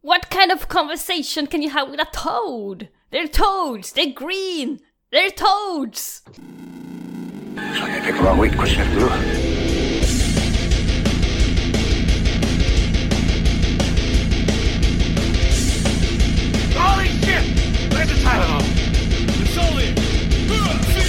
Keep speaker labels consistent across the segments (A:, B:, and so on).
A: What kind of conversation can you have with a toad? They're toads! They're green! They're toads!
B: So you pick the wrong week, question to do.
C: Holy shit! Where's the Tylenol? It's all in.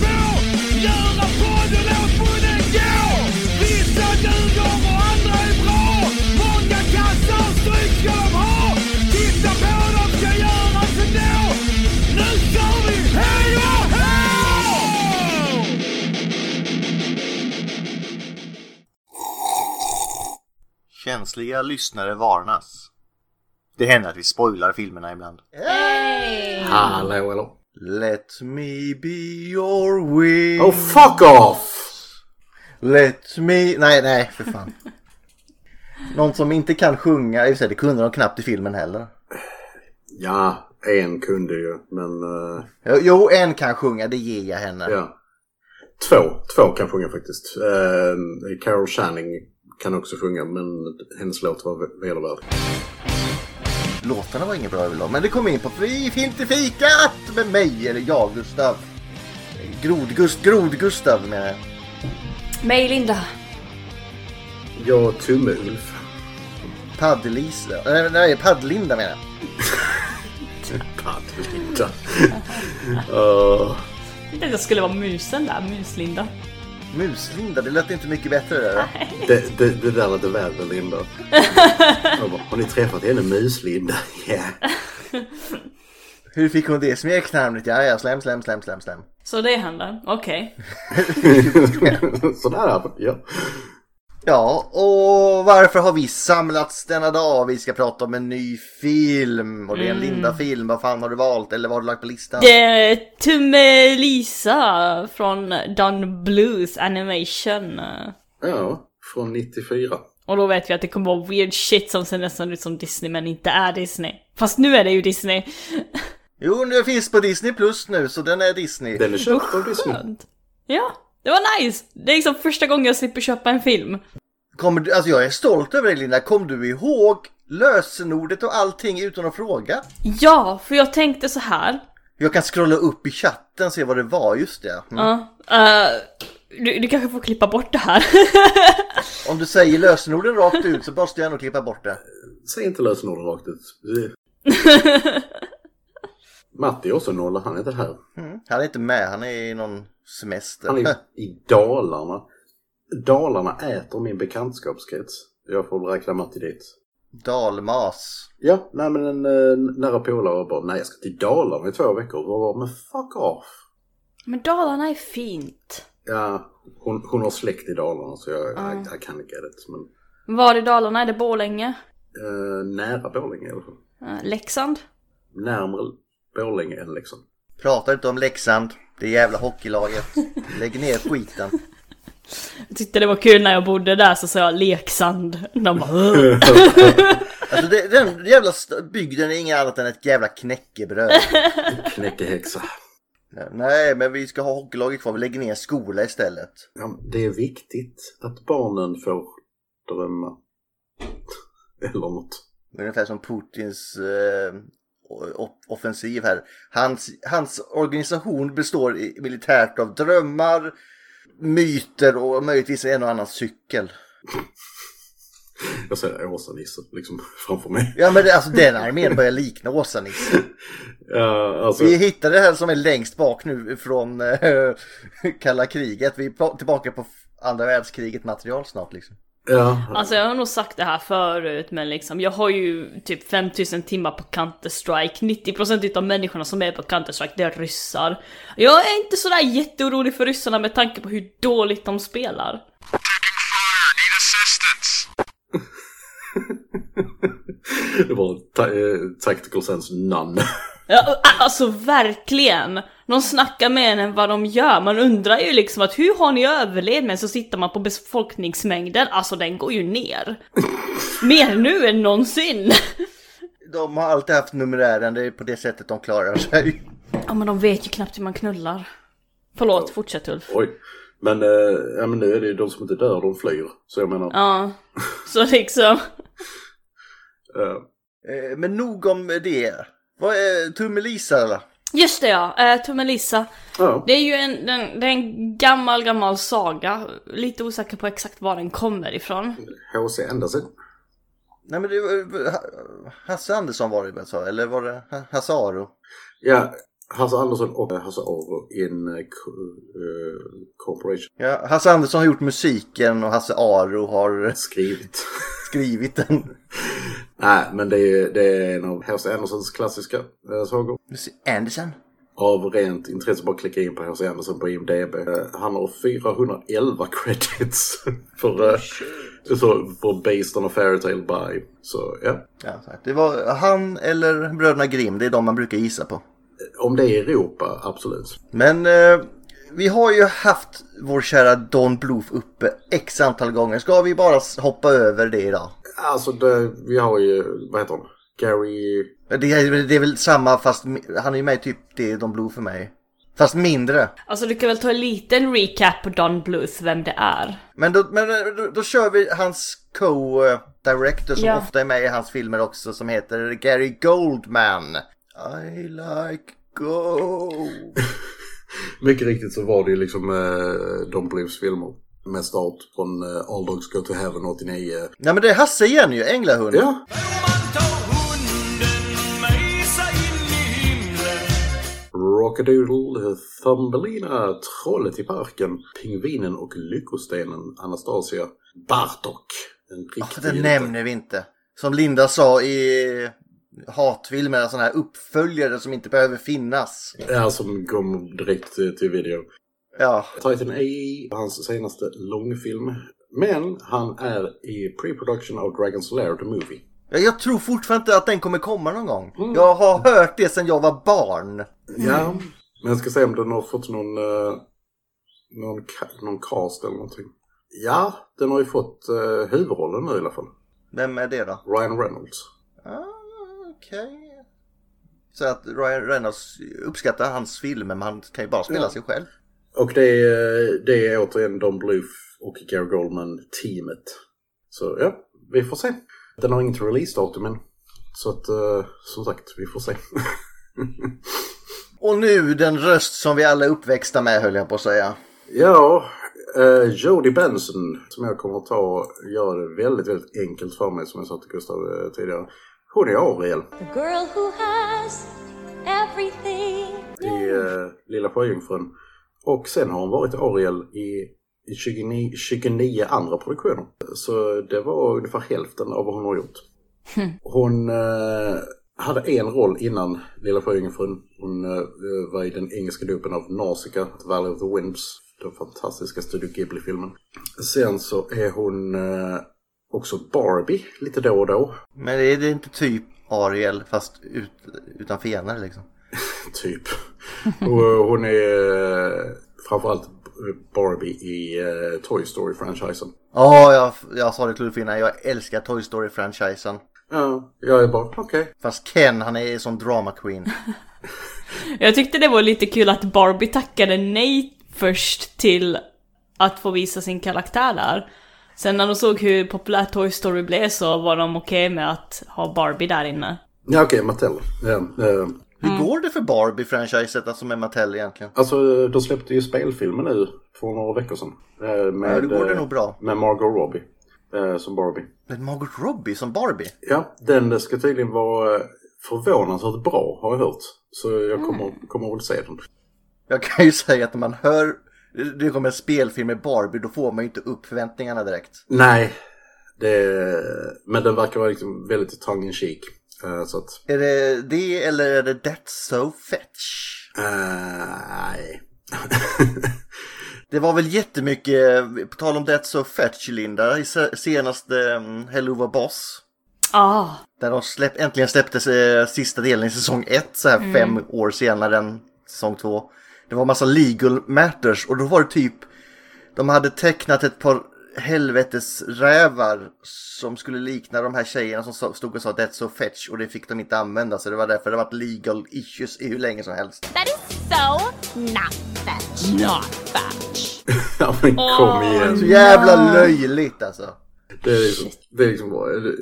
C: Göra podden åt bonden gå! Vissa duger och andra är bra! Många kassar stryk ska de ha! Titta på dem ska göras ändå! Nu kör vi! Hej och hå!
D: Känsliga lyssnare varnas. Det händer att vi spoilar filmerna ibland.
E: Hallå hallå.
D: Let me be your wing.
E: Oh fuck off!
D: Let me... Nej, nej, för fan. Någon som inte kan sjunga, i och för sig, det kunde de knappt i filmen heller.
E: Ja, en kunde ju, men eh,
D: Jo, Jo, en kan sjunga, det ger jag henne.
E: ja. Två, två kan sjunga faktiskt. Eh, Carol Channing kan också sjunga, men hennes låt var ve- vedervärdig.
D: Låtarna var inget bra överlag, men det kom in på Fri film till fikat med mig, eller jag, Gustav. Grod-Gust, Grod-Gustav menar jag.
A: Mig Linda.
E: Ja, Tumme-Ulf.
D: Paddel-Lisa, nej, nej Paddlinda menar jag.
E: Paddelita. uh,
A: Jag tänkte jag skulle vara musen där, muslinda.
D: Muslinda, det lät inte mycket bättre det där.
E: det, det, det där lät värre, Linda. Jag bara, Har ni träffat henne Mus-Linda? Ja.
D: Hur fick hon det smeknamnet? Ja, ja, slem, slem, slem, slem, slem.
A: Så det händer, okej.
E: Sådär, ja.
D: Ja, och varför har vi samlats denna dag? Vi ska prata om en ny film och det är en Linda-film. Vad fan har du valt eller vad har du lagt på listan?
A: Mm. Det är Tumme Lisa från Don Blues Animation.
E: Ja, från 94.
A: Och då vet vi att det kommer vara weird shit som ser nästan ut som Disney men inte är Disney. Fast nu är det ju Disney.
D: Jo, den finns på Disney Plus nu så den är Disney.
E: Den är köpt av Disney.
A: Ja, det var nice! Det är liksom första gången jag slipper köpa en film.
D: Kommer du, alltså jag är stolt över dig Linda. Kom du ihåg lösenordet och allting utan att fråga?
A: Ja, för jag tänkte så här.
D: Jag kan scrolla upp i chatten och se vad det var, just det. Mm.
A: Ja, eh, du, du kanske får klippa bort det här.
D: Om du säger lösenorden rakt ut så måste jag nog klippa bort det.
E: Säg inte lösenorden rakt ut. Det- Matti är också nolla, han är inte här.
D: Han är inte med, han är i någon semester.
E: Han är i Dalarna. Dalarna äter min bekantskapskrets. Jag får räkna Matti dit.
D: Dalmas.
E: Ja, nej men en eh, nära polare bara, nej jag ska till Dalarna i två veckor. Och jag bara, men fuck off.
A: men Dalarna är fint.
E: Ja, hon, hon har släkt i Dalarna så jag, jag, jag kan inte det. Men
A: Var i Dalarna? Är det Borlänge?
E: eh, nära Borlänge i alla fall.
A: Eh, Leksand?
E: Närmare Borlänge än liksom.
D: Pratar inte om Leksand, det jävla hockeylaget. Lägg ner skiten.
A: Jag tyckte det var kul när jag bodde där så sa jag Leksand. De bara "Ugh."
D: Alltså det, den jävla st- bygden är inget annat än ett jävla knäckebröd.
E: Knäckehäxa.
D: Nej, men vi ska ha hockeylaget kvar, vi lägger ner en skola istället.
E: Ja, men det är viktigt att barnen får drömma. Eller något.
D: Ungefär som Putins eh, o- offensiv här. Hans, hans organisation består i, militärt av drömmar, myter och möjligtvis en och annan cykel.
E: Jag ser Åsa-Nisse liksom framför mig.
D: Ja men det, alltså den armén börjar likna Åsa-Nisse.
E: Ja, alltså,
D: Vi hittade det här som är längst bak nu från eh, kalla kriget. Vi är pa- tillbaka på f- andra världskriget material snart liksom.
E: ja,
A: Alltså jag har nog sagt det här förut men liksom jag har ju typ 5000 timmar på Counter-Strike. 90% utav människorna som är på Counter-Strike det är ryssar. Jag är inte sådär jätteorolig för ryssarna med tanke på hur dåligt de spelar.
E: det var ta- eh, tactical sense none.
A: Ja, alltså verkligen! De snackar mer än vad de gör. Man undrar ju liksom att hur har ni överlevt? Men så tittar man på befolkningsmängden, alltså den går ju ner. mer nu än någonsin!
D: De har alltid haft numerären, det är på det sättet de klarar sig.
A: Ja men de vet ju knappt hur man knullar. Förlåt, fortsätt Ulf.
E: Oj. Men, eh, ja, men nu är det ju de som inte dör, de flyr. Så jag menar,
A: Ja. Så liksom,
E: eh,
D: Eh, Men nog om det. Vad är Tummelisa eller?
A: just det ja, eh, Tummelissa.
E: ja.
A: Det är ju en, den, det är en gammal, gammal saga. Lite osäker på exakt var den kommer ifrån.
E: HC ända sedan.
D: Nej men det var, eh, Ha- Hasse Andersson var det väl så? Eller var det Ha- Hasse Aro?
E: Ja, Hasse Andersson och eh, Hasse Aro in eh, co- eh, Corporation
D: Ja, Hasse Andersson har gjort musiken och Hasse Aro har
E: skrivit.
D: skrivit den.
E: Nej, men det är, det är en av H.C. Andersens klassiska eh, sagor.
D: Andersson?
E: Av rent intresse bara klicka in på H.C. Andersen på IMDB. Eh, han har 411 credits för, eh, så, för Based on a Fairy Tale by. Så ja.
D: Ja, så här. det var han eller Bröderna Grimm, det är de man brukar gissa på.
E: Om det är Europa, absolut.
D: Men eh, vi har ju haft vår kära Don Bluth uppe x antal gånger. Ska vi bara s- hoppa över det idag?
E: Alltså, det, vi har ju, vad heter han? Gary...
D: Det är, det är väl samma fast mi- han är ju med i typ det är Don Bluth för mig. Fast mindre.
A: Alltså du kan väl ta en liten recap på Don Bluth, vem det är?
D: Men då, men eh, då, då kör vi hans co-director som
A: Ja.
D: ofta är med i hans filmer också som heter Gary Goldman. I like gold.
E: Mycket riktigt så var det ju liksom eh, Don Bluths filmer. Med start från eh, All Dogs Go To Heaven 89.
D: Nej men det är Hasse igen ju, Änglahund.
E: Ja, Rockadoodle, Thumbelina, Trollet i parken, Pingvinen och Lyckostenen, Anastasia, Bartok. En
D: Ah,
E: riktig
D: det
E: hjälte.
D: nämner vi inte. Som Linda sa i hatfilmer, sådana här uppföljare som inte behöver finnas.
E: Ja, som kom direkt eh, till video.
D: Ja,
E: Titan A, hans senaste långfilm. Men han är i pre-production av Dragon's Lair, the movie.
D: Ja, jag tror fortfarande inte att den kommer komma någon gång. Jag har hört det sedan jag var barn.
E: Ja, men jag ska se om den har fått någon, eh, någon, ca- någon cast eller någonting. Ja, den har ju fått eh, huvudrollen nu i alla fall.
D: Vem är det då?
E: Ryan Reynolds.
D: Ah, Okej. Så att Ryan Reynolds uppskattar hans filmer, men han kan ju bara spela sig själv.
E: Och det är, det är återigen Don Bluth och Gary Goldman-teamet. Så ja, vi får se. Den har inget release-datum än. Så att, eh, som sagt, vi får se.
D: Och nu den röst som vi alla är uppväxta med höll jag på att säga.
E: Ja, eh, Jodie Benson som jag kommer att ta gör det väldigt, väldigt enkelt för mig som jag sa till Gustav eh, tidigare. Hon är Ariel
F: The girl who has everything.
E: i eh, Lilla Sjöjungfrun. Och sen har hon varit Ariel i, i 29, 29 andra produktioner. Så det var ungefär hälften av vad hon har gjort. Hon eh, hade en roll innan Lilla Sjöjungfrun. Hon eh, var i den engelska dubben av Nausicaa, Valley of the Winds. Den fantastiska Studio Ghibli-filmen. Sen så är hon eh, också Barbie lite då och då.
D: Men är det inte typ Ariel fast ut, utan fenor liksom?
E: Typ. Och hon är eh, framförallt Barbie i eh, Toy Story-franchisen.
D: Ja, jag, jag sa det till Ulf innan, jag älskar Toy Story-franchisen.
E: Ja, jag är bara okej.
D: Fast Ken, han är som drama queen.
A: Jag tyckte det var lite kul att Barbie tackade nej först till att få visa sin karaktär där. Sen när de såg hur populär Toy Story blev så var de okej med att ha Barbie där inne.
E: Ja, okej, Mattel. Ja, eh,
D: Hur går det för Barbie-franchiset, alltså med Mattel egentligen?
E: alltså, de släppte ju spelfilmen nu för några veckor sedan. eh, Med,
D: Ja, det går det
E: eh,
D: nog bra.
E: Med Margot Robbie eh, som Barbie.
D: Men Margot Robbie som Barbie?
E: Ja, den ska tydligen vara eh, förvånansvärt bra, har jag hört. Så jag kommer,
D: Mm.
E: kommer väl se den.
D: Jag kan ju säga att när man hör det kommer en spelfilm med Barbie, då får man ju inte upp förväntningarna direkt.
E: Nej, det, men den verkar vara liksom väldigt tongue in cheek. eh, Så att
D: Är det det eller är det That's So Fetch?
E: Eh, nej.
D: Det var väl jättemycket, eh, på tal om That's So Fetch, Linda, i se- senaste um, mm, Hello Var Boss.
A: Ah,
D: Där de släpp, äntligen släpptes eh, sista delen i säsong 1 så här fem år senare än säsong 2. Det var massa legal matters och då var det typ de hade tecknat ett par helvetes rävar som skulle likna de här tjejerna som sa- stod och sa that's so fetch och det fick de inte använda så det var därför det varit legal issues i hur länge som helst.
G: That is so not fetch. Not fetch.
E: Ja men kom igen.
D: Så jävla löjligt alltså.
E: Det är liksom, det är liksom bara, det-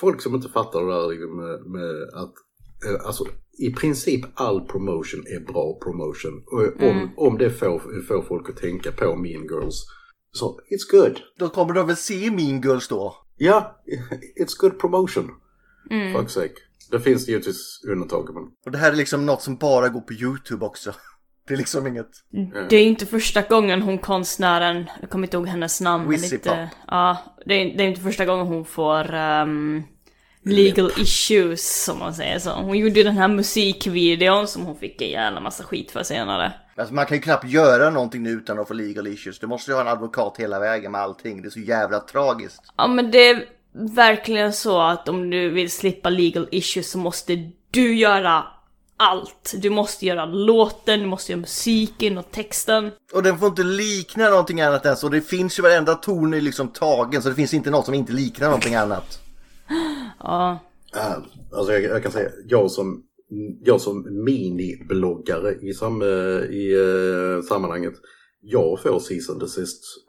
E: folk som inte fattar det där liksom med, med att eh, Alltså i princip all promotion är bra promotion. Och om, om det får, får folk att tänka på Mean Girls så it's good.
D: Då kommer de väl se Mean Girls då?
E: Ja, it's good promotion. Mm. Fuck sake. Det finns givetvis undantag men
D: Och det här är liksom något som bara går på YouTube också. Det är liksom inget...
A: Det är ju inte första gången hon konstnären, jag kommer inte ihåg hennes namn. men
D: Wizzy
A: inte,
D: Pop.
A: ja, det, är, det är inte första gången hon får ehm, legal issues som man säger så. Hon gjorde ju den här musikvideon som hon fick en jävla massa skit för senare.
D: Alltså man kan ju knappt göra någonting nu utan att få legal issues. Du måste ju ha en advokat hela vägen med allting. Det är så jävla tragiskt.
A: Ja men det är verkligen så att om du vill slippa legal issues så måste du göra allt. Du måste göra låten, du måste göra musiken och texten.
D: Och den får inte likna någonting annat än så. Det finns ju varenda ton är liksom tagen så det finns inte något som inte liknar någonting annat.
E: Äh, Alltså jag, jag kan säga, jag som, jag som minibloggare i, sam, i eh, sammanhanget, jag får sist and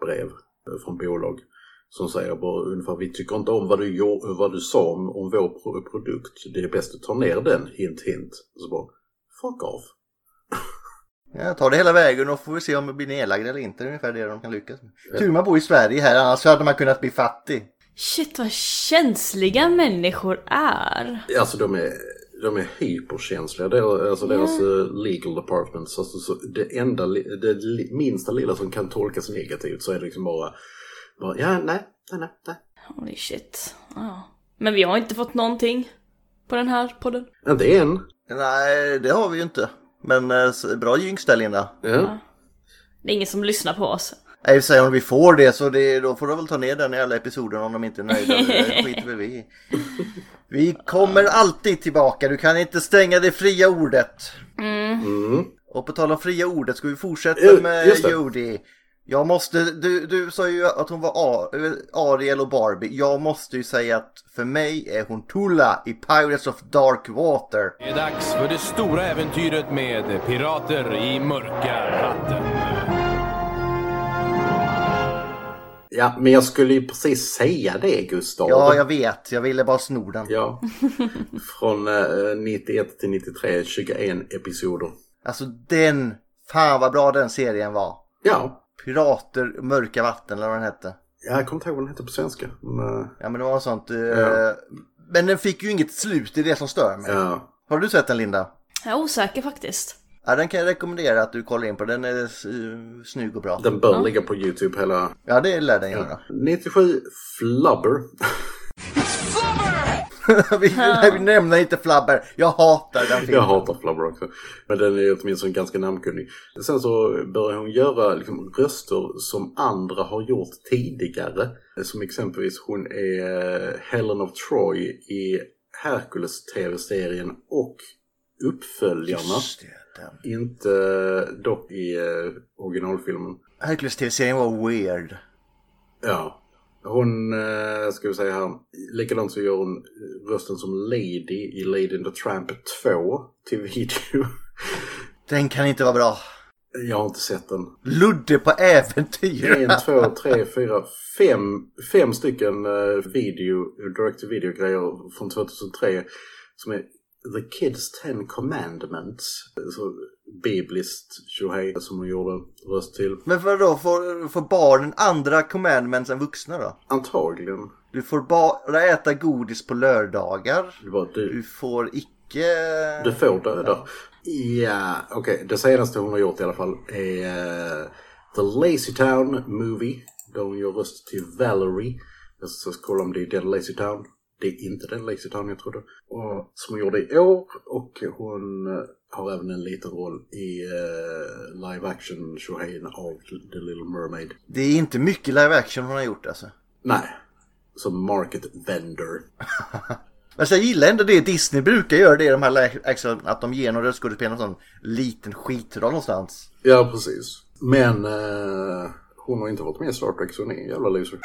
E: brev eh, från bolag som säger bara ungefär vi tycker inte om vad du, gör, vad du sa om, om vår pro- produkt, det är bäst att ta ner den, hint hint. Så bara, fuck off.
D: Ja, ta det hela vägen och får vi se om det blir nedlagd eller inte. Det är ungefär det de kan lyckas med. Tur man bor i Sverige här annars hade man kunnat bli fattig.
A: Shit vad känsliga människor är.
E: Alltså de är, de är hyperkänsliga, deras, alltså deras eh, legal departments. Alltså, så det, enda, li- det li- minsta lilla som kan tolkas negativt så är det liksom bara, bara ja, nej, nej, nej, nej.
A: Holy shit. Ja. Men vi har inte fått någonting på den här podden.
E: Inte än.
D: Nej, det har vi ju inte. Men eh, så- bra jinx där Linda.
E: Ja.
A: Det är ingen som lyssnar på oss.
D: Nej, i och för sig, om vi får det så det, då får de väl ta ner den i alla episoder om de inte är nöjda. Det skiter väl vi i. Vi kommer alltid tillbaka. Du kan inte stänga det fria ordet.
E: Mm.
D: Och på tal om fria ordet ska vi
E: Eh,
D: fortsätta
E: just
D: med
E: det.
D: Judy. Jag måste, du, du sa ju att hon var A- eh, Ariel och Barbie. Jag måste ju säga att för mig är hon Tulla i Pirates of Dark Water.
H: Det är dags för det stora äventyret med Pirater i mörka natten.
E: ja, men jag skulle ju precis säga det Gustav.
D: Ja, jag vet. Jag ville bara sno den.
E: Ja. Från eh, 91 till 93, 21 episoder.
D: Alltså den, fan vad bra den serien var.
E: Ja,
D: Pirater, Mörka Vatten eller vad den hette.
E: jag kommer inte ihåg vad den heter på svenska. Men, eh,
D: Ja men det var sånt. eh,
E: Ja.
D: Men den fick ju inget slut, det är det som stör mig.
E: ja.
D: Har du sett den Linda?
A: Jag är osäker faktiskt.
D: Ja, den kan jag rekommendera att du kollar in på. Den är eh, snygg och bra.
E: Den bör ligga på YouTube hela...
D: Ja, det lär den göra.
E: 97 Flubber.
D: vi, nej, vi nämner inte Flabber. Jag hatar den filmen.
E: Jag hatar Flubber också. Men den är ju åtminstone ganska namnkunnig. Sen så börjar hon göra liksom, röster som andra har gjort tidigare. Som exempelvis hon är eh, Helen of Troy i Hercules-tv-serien och uppföljarna.
D: Just det, den.
E: Inte dock i eh, originalfilmen.
D: Hercules TV-serien var weird.
E: Ja. Hon, eh, ska vi säga här, likadant så gör hon eh, rösten som Lady i Lady and the Tramp 2 till video.
D: Den kan inte vara bra.
E: Jag har inte sett den.
D: Ludde på äventyr.
E: En, två, tre, fyra, fem, fem stycken eh, video, direct-to-video-grejer från 2003 som är The Kids Ten Commandments. Så bibliskt tjohej som hon gjorde röst till.
D: Men vadå, får, får barnen andra commandments än vuxna då?
E: Antagligen.
D: Du får bara äta godis på lördagar.
E: Det var du.
D: Du får icke...
E: Du får döda. Ja, okej. Det senaste hon har gjort i alla fall är eh, The Lazy Town Movie. Där hon gör röst till Valerie. Jag ska kolla om det är den Lazy Town. Det är inte den Lazy Town jag trodde. Och, som hon gjorde i år. Och hon eh, har även en liten roll i eh, live action tjohejen av The Little Mermaid.
D: Det är inte mycket live action hon har gjort alltså.
E: Nej. som market vendor.
D: Alltså jag gillar ändå det Disney brukar göra det i de här live action, att de ger någon röstskådespelare någon sån liten skitroll någonstans.
E: Ja, precis. Men eh, hon har inte varit med i Star Trek så hon är en jävla loser.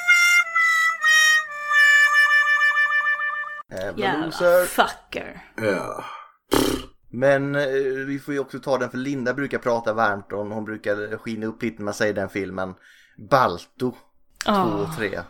D: Jävla
A: Jävla
D: Eh, loser.
A: fucker.
E: Ja.
D: Men eh, vi får ju också ta den för Linda brukar prata varmt om, hon brukar skina upp lite när man säger den filmen. Balto 2
A: Ah.
D: och 3.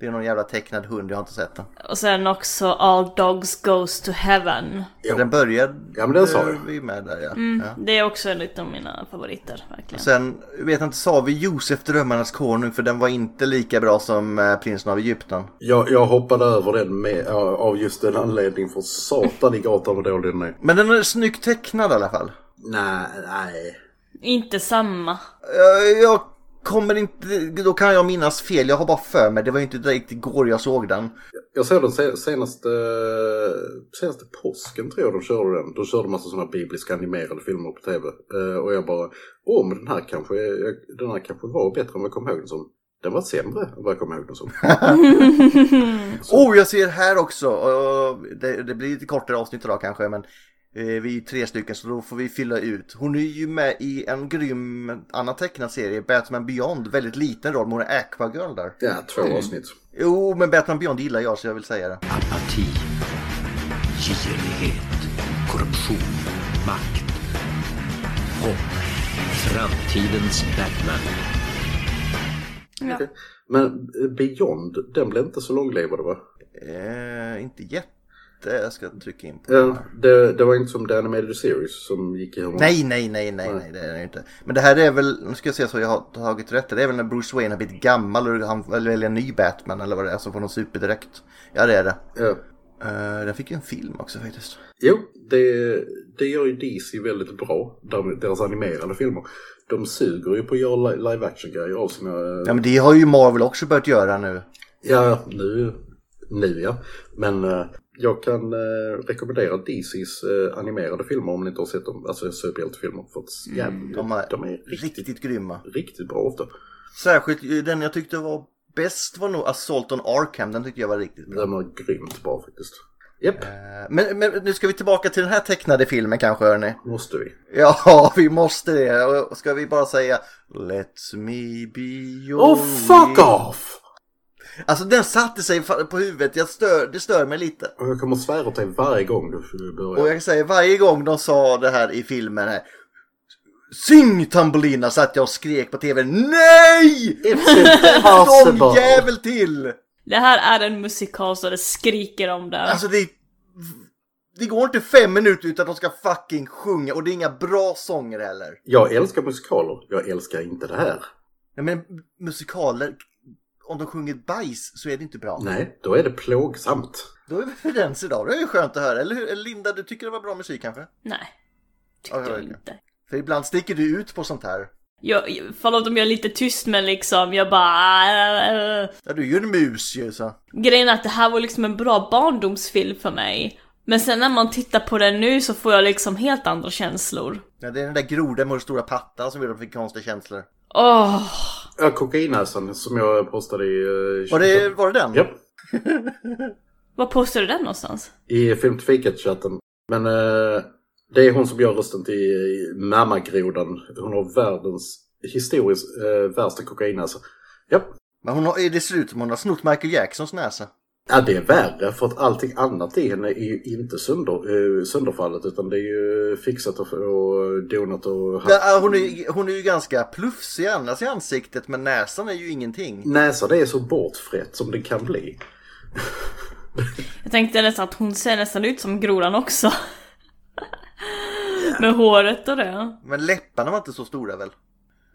D: Det är någon jävla tecknad hund, jag har inte sett den.
A: Och sen också All Dogs Goes to Heaven.
E: Jo.
D: Den börjar
E: Ja, men den sa jag.
D: vi med där ja. ja.
A: Det är också en av mina favoriter, verkligen.
D: Sen vet jag inte, sa vi Josef Drömmarnas konung för den var inte lika bra som eh, Prinsen av Egypten.
E: Jag, jag hoppade över den med, ja, av just den anledningen för satan i gatan vad dålig den är.
D: Men den är snyggt tecknad i alla fall.
E: Nej, nej.
A: Inte samma.
D: Eh, Jag kommer inte, då kan jag minnas fel, jag har bara för mig, det var ju inte direkt igår jag såg den.
E: Jag såg den se- senaste, senaste påsken tror jag de körde den. De körde massa sådana bibliska animerade filmer på tv. Eh, och jag bara, åh men den här kanske, jag- den här kanske var bättre än vad jag kom ihåg den som. Den var sämre än vad jag kom ihåg den som.
D: Oh, jag ser här också! Och Det, det blir lite kortare avsnitt idag kanske, men eh, vi är ju tre stycken så då får vi fylla ut. Hon är ju med i en grym annan tecknad serie, Batman Beyond, väldigt liten roll, men hon är Aquagirl där.
E: Ja, två avsnitt.
D: Jo, men Batman Beyond gillar jag så jag vill säga det.
I: Apati, girighet, korruption, makt och framtidens Batman.
E: Okej. Men eh, Beyond, den blev inte så långlivad va?
D: Eh, inte jätte, jag ska trycka in på det.
E: Eh, Det, det var inte som The Animated Series som gick i hur många-
D: Nej, nej, nej, nej, nej, det är det inte. Men det här är väl, nu ska jag se så jag har tagit rätt, det är väl när Bruce Wayne har blivit gammal och han väl väljer en ny Batman eller vad det är som får någon superdräkt. Ja, det är det.
E: Ja.
D: Uh, den fick ju en film också faktiskt.
E: Jo, det, det gör ju DC väldigt bra, de- deras animerade filmer. De suger ju på att göra li- live action-grejer av sina...
D: Ja, men det har ju Marvel också börjat göra nu.
E: Ja, nu, nu ja. Men eh, jag kan eh, rekommendera DCs eh, animerade filmer om ni inte har sett dem, alltså superhjältefilmer. För att jävlar,
D: Mm, De är,
E: de är
D: riktigt,
E: riktigt,
D: grymma.
E: riktigt bra ofta.
D: Särskilt eh, den jag tyckte var bäst var nog Assault on Arkham, den tyckte jag var riktigt bra.
E: De är grymt bra faktiskt. Japp,
D: Eh, Men, men nu ska vi tillbaka till den här tecknade filmen kanske hörni.
E: måste vi.
D: Ja, vi måste det. Och Ska vi bara säga Let me be your
E: Oh, fuck
D: witness."
E: off!
D: Alltså den satte sig fa- på huvudet, jag stör, det stör mig lite.
E: Och jag kommer att svära åt dig varje gång du börjar.
D: Och jag säger varje gång de sa det här i filmen här. Sing Tambulina satt jag och skrek på tv. Nej!
E: It's
D: Någon
E: impossible!
D: jävel till!
A: Det här är en musikal så det skriker om det.
D: Alltså det... Det går inte fem minuter utan de ska fucking sjunga och det är inga bra sånger heller.
E: Jag älskar musikaler, jag älskar inte det här.
D: Nej men musikaler, om de sjunger bajs så är det inte bra.
E: Nej, då är det plågsamt.
D: Då är vi överens idag, det är ju skönt att höra. Eller hur? Linda, du tycker det var bra musik kanske?
A: Nej. Tyckte
D: Ja, jag
A: jag
D: vet.
A: inte.
D: För ibland sticker du ut på sånt här.
A: Jag, jag- förlåt om jag är lite tyst men liksom, jag bara... äh.
D: Ja, du är ju en mus ju så.
A: Grejen är att det här var liksom en bra barndomsfilm för mig. Men sen när man tittar på den nu så får jag liksom helt andra känslor.
D: Ja, det är den där groden med den stora pattan som gör att de fick konstiga känslor.
A: Åh!
E: Ja, kokainhäsen som jag postade i... eh,
D: Var det, var det den?
E: Japp,
A: Var postar du den någonstans?
E: i filmfikat-chatten. Men eh, det är hon som gör rösten till i mammagrodan. Hon har världens, historiskt eh, värsta kokainhäsa. Japp.
D: Men hon har, det ser ut som hon har snott Michael Jacksons näsa.
E: Ja, det är värre för att allting annat i henne är ju inte sönder, eh, sönderfallet utan det är ju fixat och, och donat och...
D: Ja, hon, är, hon är ju ganska plufsig annars i ansiktet men näsan är ju ingenting.
E: Näsa, det är så bortfrätt som det kan bli.
A: Jag tänkte nästan att hon ser nästan ut som grodan också. Med håret och det.
D: Men läpparna var inte så stora väl?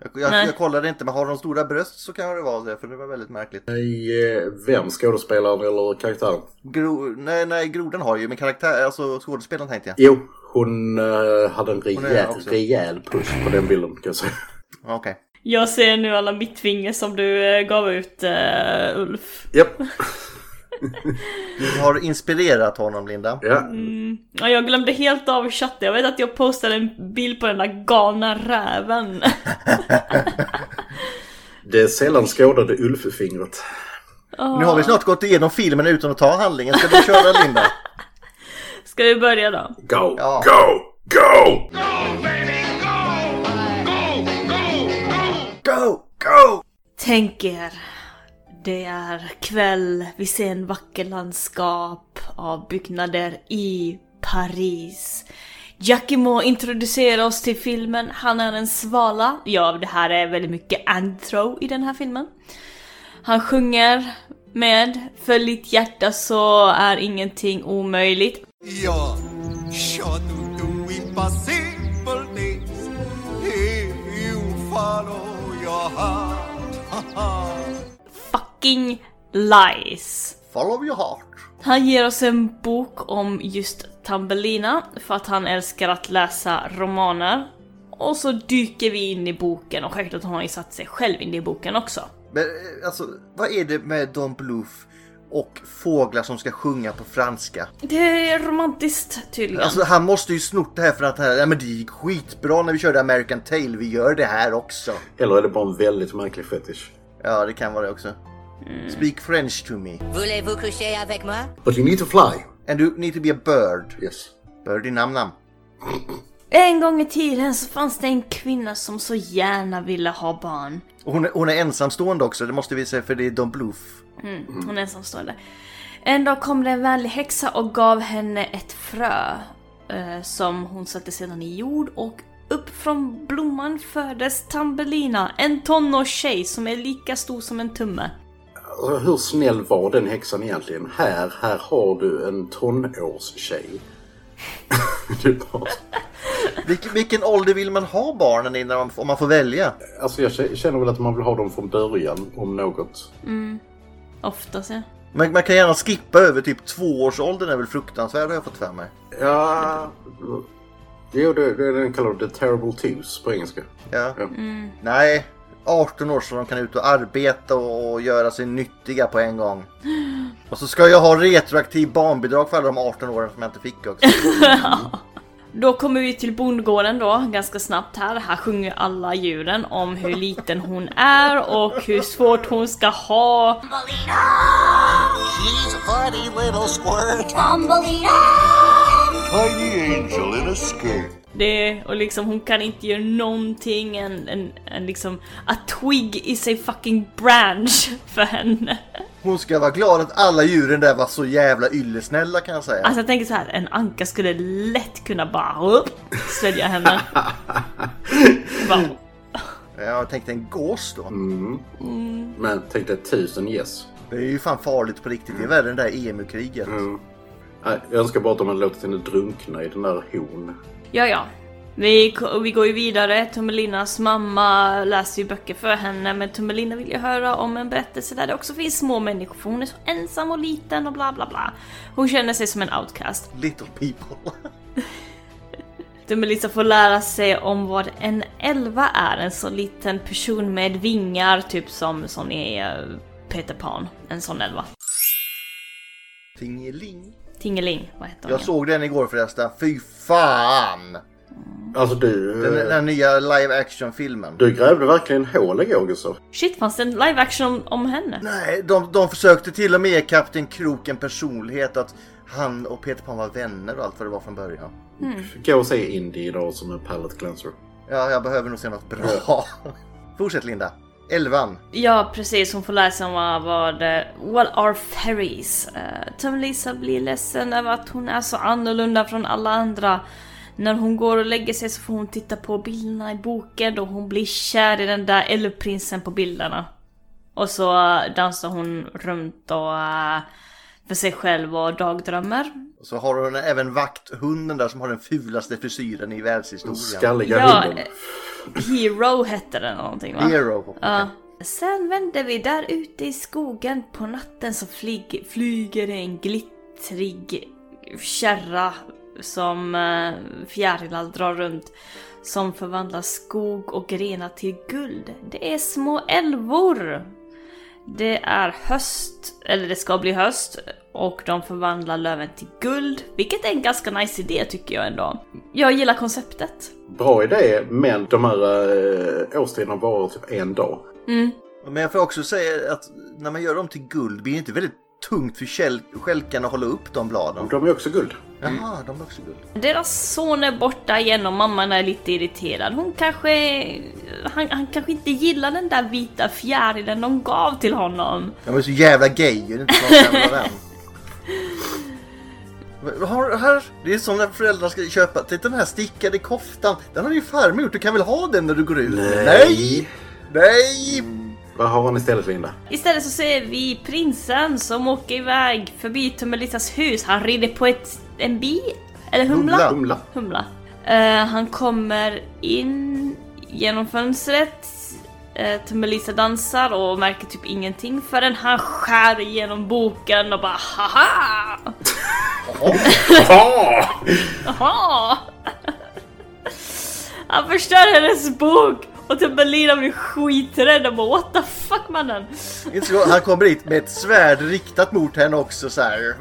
D: Jag, jag,
A: Nej.
D: jag kollade inte men har de stora bröst så kan det vara det för det var väldigt märkligt.
E: I eh, vem? Skådespelaren eller karaktären?
D: Gro, nej, nej, grodan har ju men karaktär, alltså skådespelaren tänkte jag.
E: Jo, hon eh, hade en
D: Hon är det
E: rejäl,
D: också.
E: rejäl push på den bilden kan jag säga.
D: Ja, Okej.
A: Jag ser nu alla mittfinger som du eh, gav ut eh, Ulf.
E: Japp.
D: Du har inspirerat honom Linda.
E: Ja.
A: Mm. Ja, jag glömde helt av chatten. Jag vet att jag postade en bild på den där galna räven.
E: Det är sällan skådade Ulf-fingret.
D: Nu har vi snart gått igenom filmen utan att ta handlingen. Ska vi köra Linda?
A: Ska vi börja då?
E: Go!
D: Ja.
E: Go! Go!
D: Go! Go!
A: Tänk er, det är kväll, vi ser en vacker landskap av byggnader i Paris. Giacomo introducerar oss till filmen, han är en svala. Ja, det här är väldigt mycket intro i den här filmen. Han sjunger med För ditt hjärta så är ingenting omöjligt.
C: Ja, ja nu du impossible this If you follow your heart
A: Fucking lies!
D: Follow your heart.
A: Han ger oss en bok om just Tambellina för att han älskar att läsa romaner. Och så dyker vi in i boken och självklart har han ju satt sig själv in i boken också.
D: Men eh, alltså, vad är det med Don Bluth och fåglar som ska sjunga på franska?
A: Det är romantiskt tydligen.
D: Alltså han måste ju snott det här för att det här, ja, men det gick skitbra när vi körde American Tail, vi gör det här också.
E: Eller är det bara en väldigt märklig fetisch?
D: Ja, det kan vara det också. Speak French to me.
G: Voulez-vous coucher avec moi?
E: But you need to fly!
D: And you need to be a bird.
E: Yes.
D: Bird i namnam.
A: En gång i tiden så fanns det en kvinna som så gärna ville ha barn.
D: Och Hon är, hon är ensamstående också, det måste vi säga för det är Don Bluth.
A: Hon är ensamstående. En dag kom det en vänlig häxa och gav henne ett frö. Eh, som hon satte sedan i jord och upp från blomman föddes Tambellina, en tonårstjej som är lika stor som en tumme.
E: Alltså, hur snäll var den häxan egentligen? Här, här har du en tonårstjej. det är bara...
D: Vilken, vilken ålder vill man ha barnen i när de, om man får välja?
E: Alltså jag k- känner väl att man vill ha dem från början, om något.
A: Oftast ja.
D: Man, man kan gärna skippa över typ tvåårsåldern, är väl fruktansvärd har jag fått för mig.
E: Ja... Jo, det, det är den kallade The Terrible Twos på engelska.
D: Ja.
E: Ja.
D: Nej, 18 år så de kan ut och arbeta och, och göra sig nyttiga på en gång. Och så ska jag ha retroaktiv barnbidrag för alla de 18 åren som jag inte fick också.
A: Då kommer vi till bondgården då, ganska snabbt här. Här sjunger alla djuren om hur liten hon är och hur svårt hon ska ha.
C: She's a funny little squirt Tiny angel in a skirt
A: Det, och liksom hon kan inte göra någonting, en, en, en liksom... A twig is a fucking branch för henne.
D: Hon ska vara glad att alla djuren där var så jävla yllesnälla kan jag säga.
A: Alltså jag tänker så här, en anka skulle lätt kunna bara upp, svälja henne. Bara,
D: Jag tänkte en gås då.
E: Men tänk dig tusen yes.
D: Det är ju fan farligt på riktigt. Det är värre än det där EMU-kriget.
E: Nej, Jag önskar bara att de hade låtit henne drunkna i den där hon.
A: ja, ja. Vi, ko- vi går ju vidare, Tummelinas mamma läser ju böcker för henne men Tummelina vill ju höra om en berättelse där det också finns små människor för hon är så ensam och liten och bla bla bla. Hon känner sig som en outcast.
D: Little people.
A: Dummelisa får lära sig om vad en elva är, en sån liten person med vingar, typ som, som är eh, Peter Pan. En sån elva.
D: Tingeling.
A: Tingeling, vad heter hon?
D: Jag såg den igår förresten. Fy fan!
E: Alltså du...
D: Den, den här nya live action-filmen.
E: Du grävde verkligen hål igår Gustav.
A: Shit, fanns det en live action om, om henne?
D: Nej, de, de försökte till och med ge Kapten Krok en personlighet att han och Peter Pan var vänner och allt vad det var från början.
A: Mm.
E: Gå och se Indie idag som en palette cleanser.
D: Ja, jag behöver nog se något bra. Fortsätt Linda. Elvan.
A: Ja, precis. Hon får lära sig om vad, vad eh, What are fairies? Uh, Tummelisa blir ledsen över att hon är så annorlunda från alla andra. När hon går och lägger sig så får hon titta på bilderna i boken och hon blir kär i den där eldprinsen på bilderna. Och så eh, dansar hon runt och eh, för sig själv och dagdrömmer.
D: Och så har hon även vakthunden där som har den fulaste frisyren i världshistorien.
E: Skalliga
A: Ja,
E: hunden.
A: eh, Hero hette den någonting va?
D: Hero.
A: Ja. Sen vänder vi där ute i skogen på natten så flyg, flyger en glittrig kärra som eh, fjärilar drar runt som förvandlar skog och grenar till guld. Det är små älvor! Det är höst, eller det ska bli höst, och de förvandlar löven till guld, vilket är en ganska nice idé tycker jag ändå. Jag gillar konceptet.
E: eh, Bra idé, men de här äh, årstiderna varar typ en dag.
D: Men jag får också säga att när man gör dem till guld blir det inte väldigt tungt för käl- stjälkarna att hålla upp de bladen.
E: De är också guld.
D: Jaha, de är också guld.
A: Deras son är borta igen och mamman är lite irriterad. Hon kanske... Han, han kanske inte gillar den där vita fjärilen de gav till honom.
D: De är så jävla gay, det är inte klart vem var vem. Men Har, här, det är som när föräldrar ska köpa, titta den här stickade koftan, den har din farmor gjort, du kan väl ha den när du går ut?
E: Nej.
D: Nej! Nej!
E: Vad har han istället Linda?
A: Istället så ser vi prinsen som åker iväg förbi Tummelittas hus. Han rider på ett, en bi? Eller humla?
D: Humla.
E: Humla.
A: Humla. Eh, han kommer in genom fönstret. Uh, Tummelisa dansar och märker typ ingenting förrän han skär igenom boken och bara haha! Jaha! Han förstör hennes bok! Och Tumbelina blir skiträdd och bara what the fuck mannen!
D: Inte så, han kommer hit med ett svärd riktat mot henne också så här.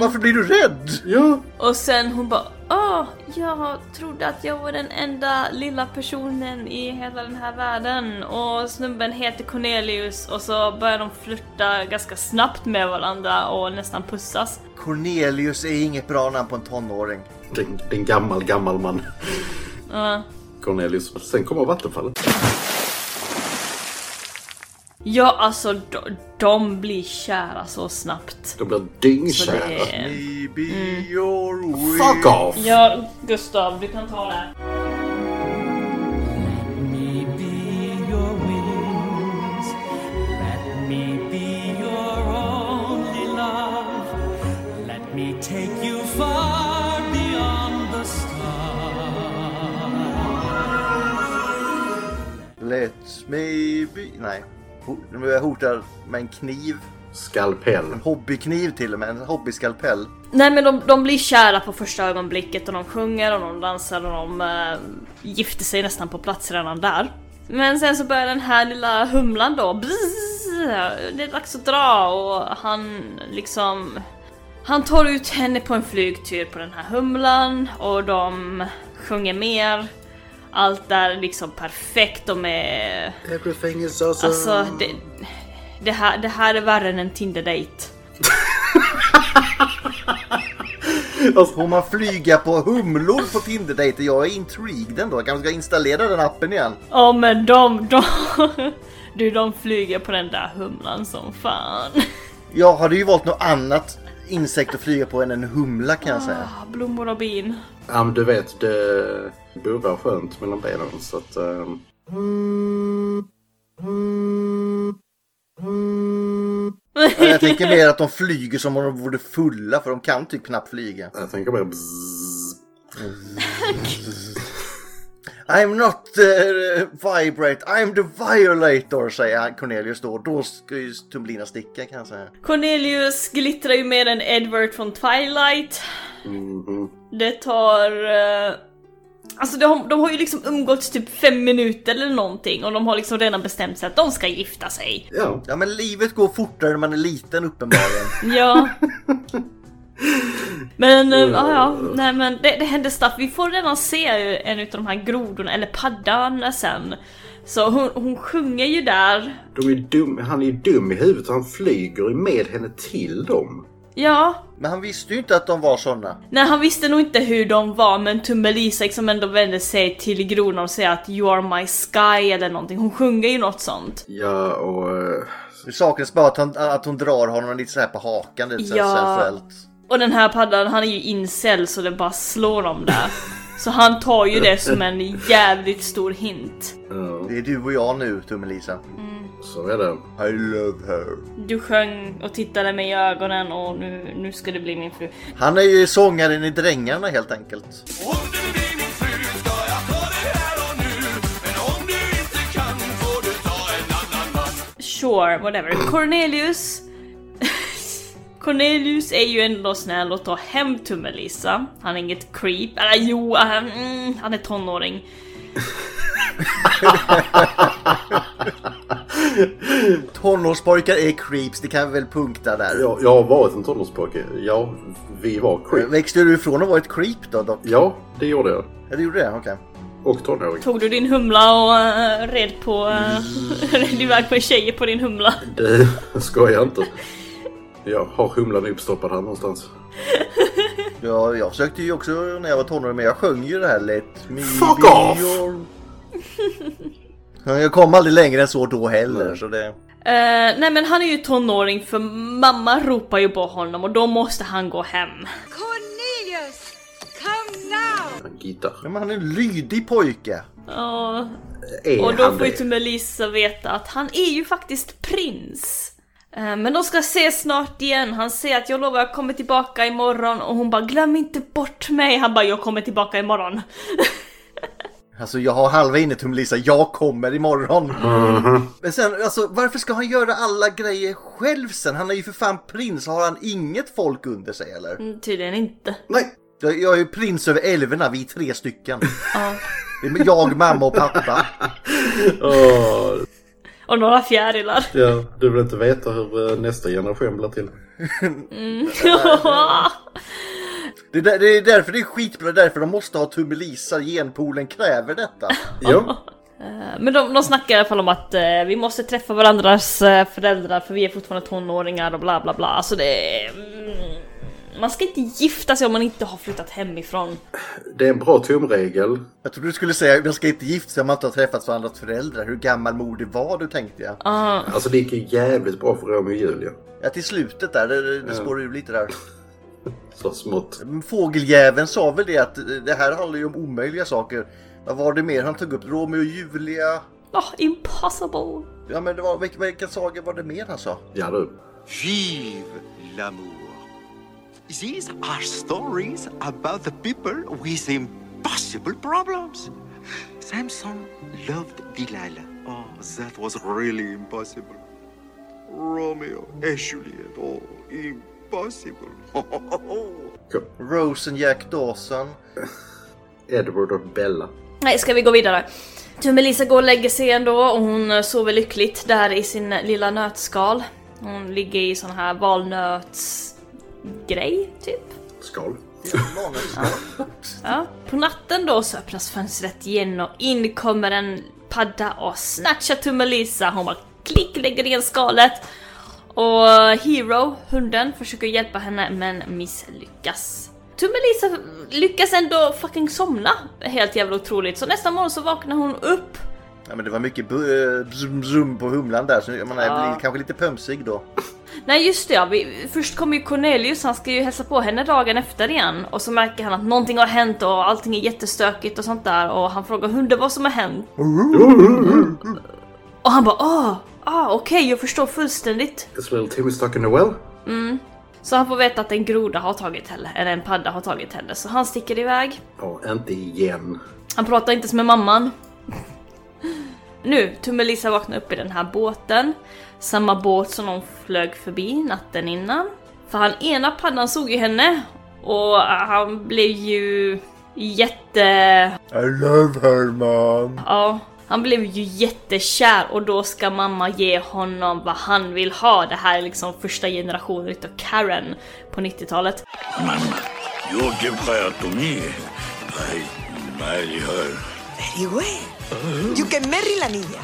D: Varför blir du rädd?
E: Ja.
A: Och sen hon bara åh, jag trodde att jag var den enda lilla personen i hela den här världen och snubben heter Cornelius och så börjar de flirta ganska snabbt med varandra och nästan pussas.
D: Cornelius är inget bra namn på en tonåring.
E: Det är en- det är en gammal, gammal man.
A: Ja.
E: Cornelius. Sen kommer vattenfallet.
A: ja, alltså de, de blir kära så snabbt.
E: De blir
A: Så
E: dyngkära.
A: det är...
D: Maybe your way.
E: Fuck off!
A: Ja, Gustav, du kan ta det.
D: Let me be... Nej. Ho- nu är Jag hotar med en kniv.
E: Skalpell.
D: En hobbykniv till och med. En hobbyskalpell.
A: Nej men de, de blir kära på första ögonblicket och de sjunger och de dansar och de eh, gifter sig nästan på plats redan där. Men sen så börjar den här lilla humlan då, bzzz, det är dags att dra och han liksom... Han tar ut henne på en flygtur på den här humlan och de sjunger mer. Allt är liksom perfekt, de är...
E: Everything is awesome.
A: Alltså det, det, här, det här är värre än en Tinder-date.
D: Får man Alltså, flyga på humlor på Tinder-dejter? Jag är intrigued ändå. Jag kanske ska installera den appen igen.
A: Ja men de, de... Du de flyger på den där humlan som fan.
D: Jag hade ju valt något annat insekt att flyga på än en humla kan jag säga.
A: Ah, Blommor och bin.
E: Ja, men du vet, det bubblar skönt mellan benen så att... ehm,
D: Jag tänker mer att de flyger som om de vore fulla för de kan typ knappt flyga.
E: jag tänker mer bzzz.
D: I'm not the vibrate, I'm the violator säger han- Cornelius då. Då ska ju Tumblina sticka kan jag säga.
A: Cornelius glittrar ju mer än Edward från Twilight. Det tar... eh, Alltså de, har- de har ju liksom umgåtts typ fem minuter eller någonting och de har liksom redan bestämt sig att de ska gifta sig.
E: Ja.
D: Ja men livet går fortare när man är liten uppenbarligen.
A: Ja. Men, eh, ja, ja, nej men det, det händer stuff. Vi får redan se en av de här grodorna, eller paddan sen. Så hon, hon sjunger ju där.
E: De är dum, han är ju dum i huvudet. Han flyger ju med henne till dem.
A: Ja.
D: Men han visste ju inte att de var såna.
A: Nej han visste nog inte hur de var men Tummelisa liksom ändå vände sig till grodorna och säger att You are my sky eller någonting. Hon sjunger ju något sånt.
E: Ja, och... eh,
D: Det saknas bara att hon, att hon drar honom lite så här på hakan lite så här
A: Ja.
D: sensuellt.
A: Och den här paddan han är ju incel så det bara slår dem där. Så han tar ju det som en jävligt stor hint.
E: ja,
D: Det är du och jag nu Tummelisa.
E: så är det.
D: I love her.
A: Du sjöng och tittade mig i ögonen och nu, nu ska du bli min fru.
D: Han är ju sångaren i Drängarna helt enkelt.
C: Om du blir min fru ska jag ta dig här och nu Men om du inte kan får du ta en annan man
A: Sure, whatever. Cornelius... Cornelius är ju ändå snäll och tar hem Tummelisa. Han är inget creep. Eller jo, han, mm, han är tonåring.
D: Tonårspojkar är creeps, det kan vi väl punkta där.
E: Jag, jag har varit en tonårspojke. Ja, vi var creep.
D: Växte du ifrån att vara ett creep då? Doc?
E: Ja, det gjorde jag.
D: Ja, du gjorde det? Okej.
E: Och tonåring.
A: Tog du din humla och eh, red på... eh, red iväg på en tjej på din humla?
E: Du, skojar inte. Jag har humlan uppstoppad här någonstans.
D: Ja, jag försökte ju också när jag var tonåring, men jag sjöng ju det här Let me
E: Fuck
D: be
E: off!
D: your- Ja, Jag kom aldrig längre än så då heller,
E: Nej.
D: så det...
A: Eh, nej men han är ju tonåring för mamma ropar ju på honom och då måste han gå hem.
G: Cornelius, come now!
E: En gitarr.
D: Ja, men han är en lydig pojke.
A: Ja,
E: Är
A: och då
E: han
A: får ju
E: det?
A: till och med Lisa veta att han är ju faktiskt prins. Eh, Men de ska ses snart igen, han säger att jag lovar jag kommer tillbaka imorgon och hon bara glöm inte bort mig, han bara jag kommer tillbaka imorgon.
D: Alltså jag har halva innetumlisa, jag kommer imorgon. Men sen, alltså varför ska han göra alla grejer själv sen? Han är ju för fan prins, har han inget folk under sig eller?
A: Mm, Tydligen inte.
E: Nej!
D: Jag, jag är ju prins över älvorna, vi är tre stycken.
A: Ja.
D: Det är Jag, mamma och pappa.
E: Åh,
A: Och några fjärilar.
E: ja, du vill inte veta hur eh, nästa generation blir till.
D: Det är, där, det är därför det är skitbra, det är därför de måste ha tummelisar, genpoolen kräver detta.
E: Ja,
A: Eh, Men de, de snackar i alla fall om att eh, vi måste träffa varandras eh, föräldrar för vi är fortfarande tonåringar och bla bla bla. Alltså det är... Mm, man ska inte gifta sig om man inte har flyttat hemifrån.
E: det är en bra tumregel.
D: Jag trodde du skulle säga att jag ska inte gifta sig om man inte har träffats varandras föräldrar. Hur gammal moder var du tänkte jag.
A: Ah,
E: Alltså det gick ju jävligt bra för Romeo och Julia.
D: Ja, till slutet där, det, det, det spårar ur lite där.
E: Så smått.
D: Fågeljäveln sa väl det att eh, det här handlar ju om omöjliga saker. Vad var det mer han tog upp? Romeo och Julia?
A: ah, impossible!
D: Ja men det var, vilken, vilken saga var det mer han sa?
E: Ja du.
J: Vive l'amour. These are stories about the people with impossible problems. Samson loved Delilah. Oh, that was really impossible. Romeo and Juliet. Oh, impossible. Oh,
D: Rose and Jack Dawson.
E: Edward och Bella.
A: Nej, ska vi gå vidare? Tummelisa går och lägger sig ändå och hon eh, sover lyckligt där i sin lilla nötskal. Hon ligger i sån här valnötsgrej, typ.
E: Skal.
A: Ja. På natten då så öppnas fönstret igen och in kommer en padda och snatchar Tummelisa. Hon bara klick lägger ner skalet. Och Hero, hunden, försöker hjälpa henne men misslyckas. Tummelisa lyckas ändå fucking somna. Helt jävla otroligt. Så nästa morgon så vaknar hon upp.
D: Ja men det var mycket bu- eh, bzum, bzum på humlan där så jag menar, jag blir kanske lite pömsig då.
A: Nej just det ja, vi, först kommer ju Cornelius, han ska ju hälsa på henne dagen efter igen. Och så märker han att någonting har hänt och allting är jättestökigt och sånt där. Och han frågar hunden vad som har hänt. Och han bara ah, ah okej jag förstår fullständigt.
E: This little Tim is stuck in the well.
A: Så han får veta att en groda har tagit henne, eller en padda har tagit henne. Så han sticker iväg.
E: Ja, inte igen.
A: Han pratar inte ens med mamman. Nu, Tummelisa vaknar upp i den här båten. Samma båt som de flög förbi natten innan. För han ena paddan såg ju henne och han blev ju jätte...
D: I love her mom.
A: Ja, han blev ju jättekär och då ska mamma ge honom vad han vill ha. Det här är liksom första generationen utav Karen på 90-talet.
B: Mamma, jag blev skärd på mig. Nej, nej, hör.
G: Very well. You can marry la niña.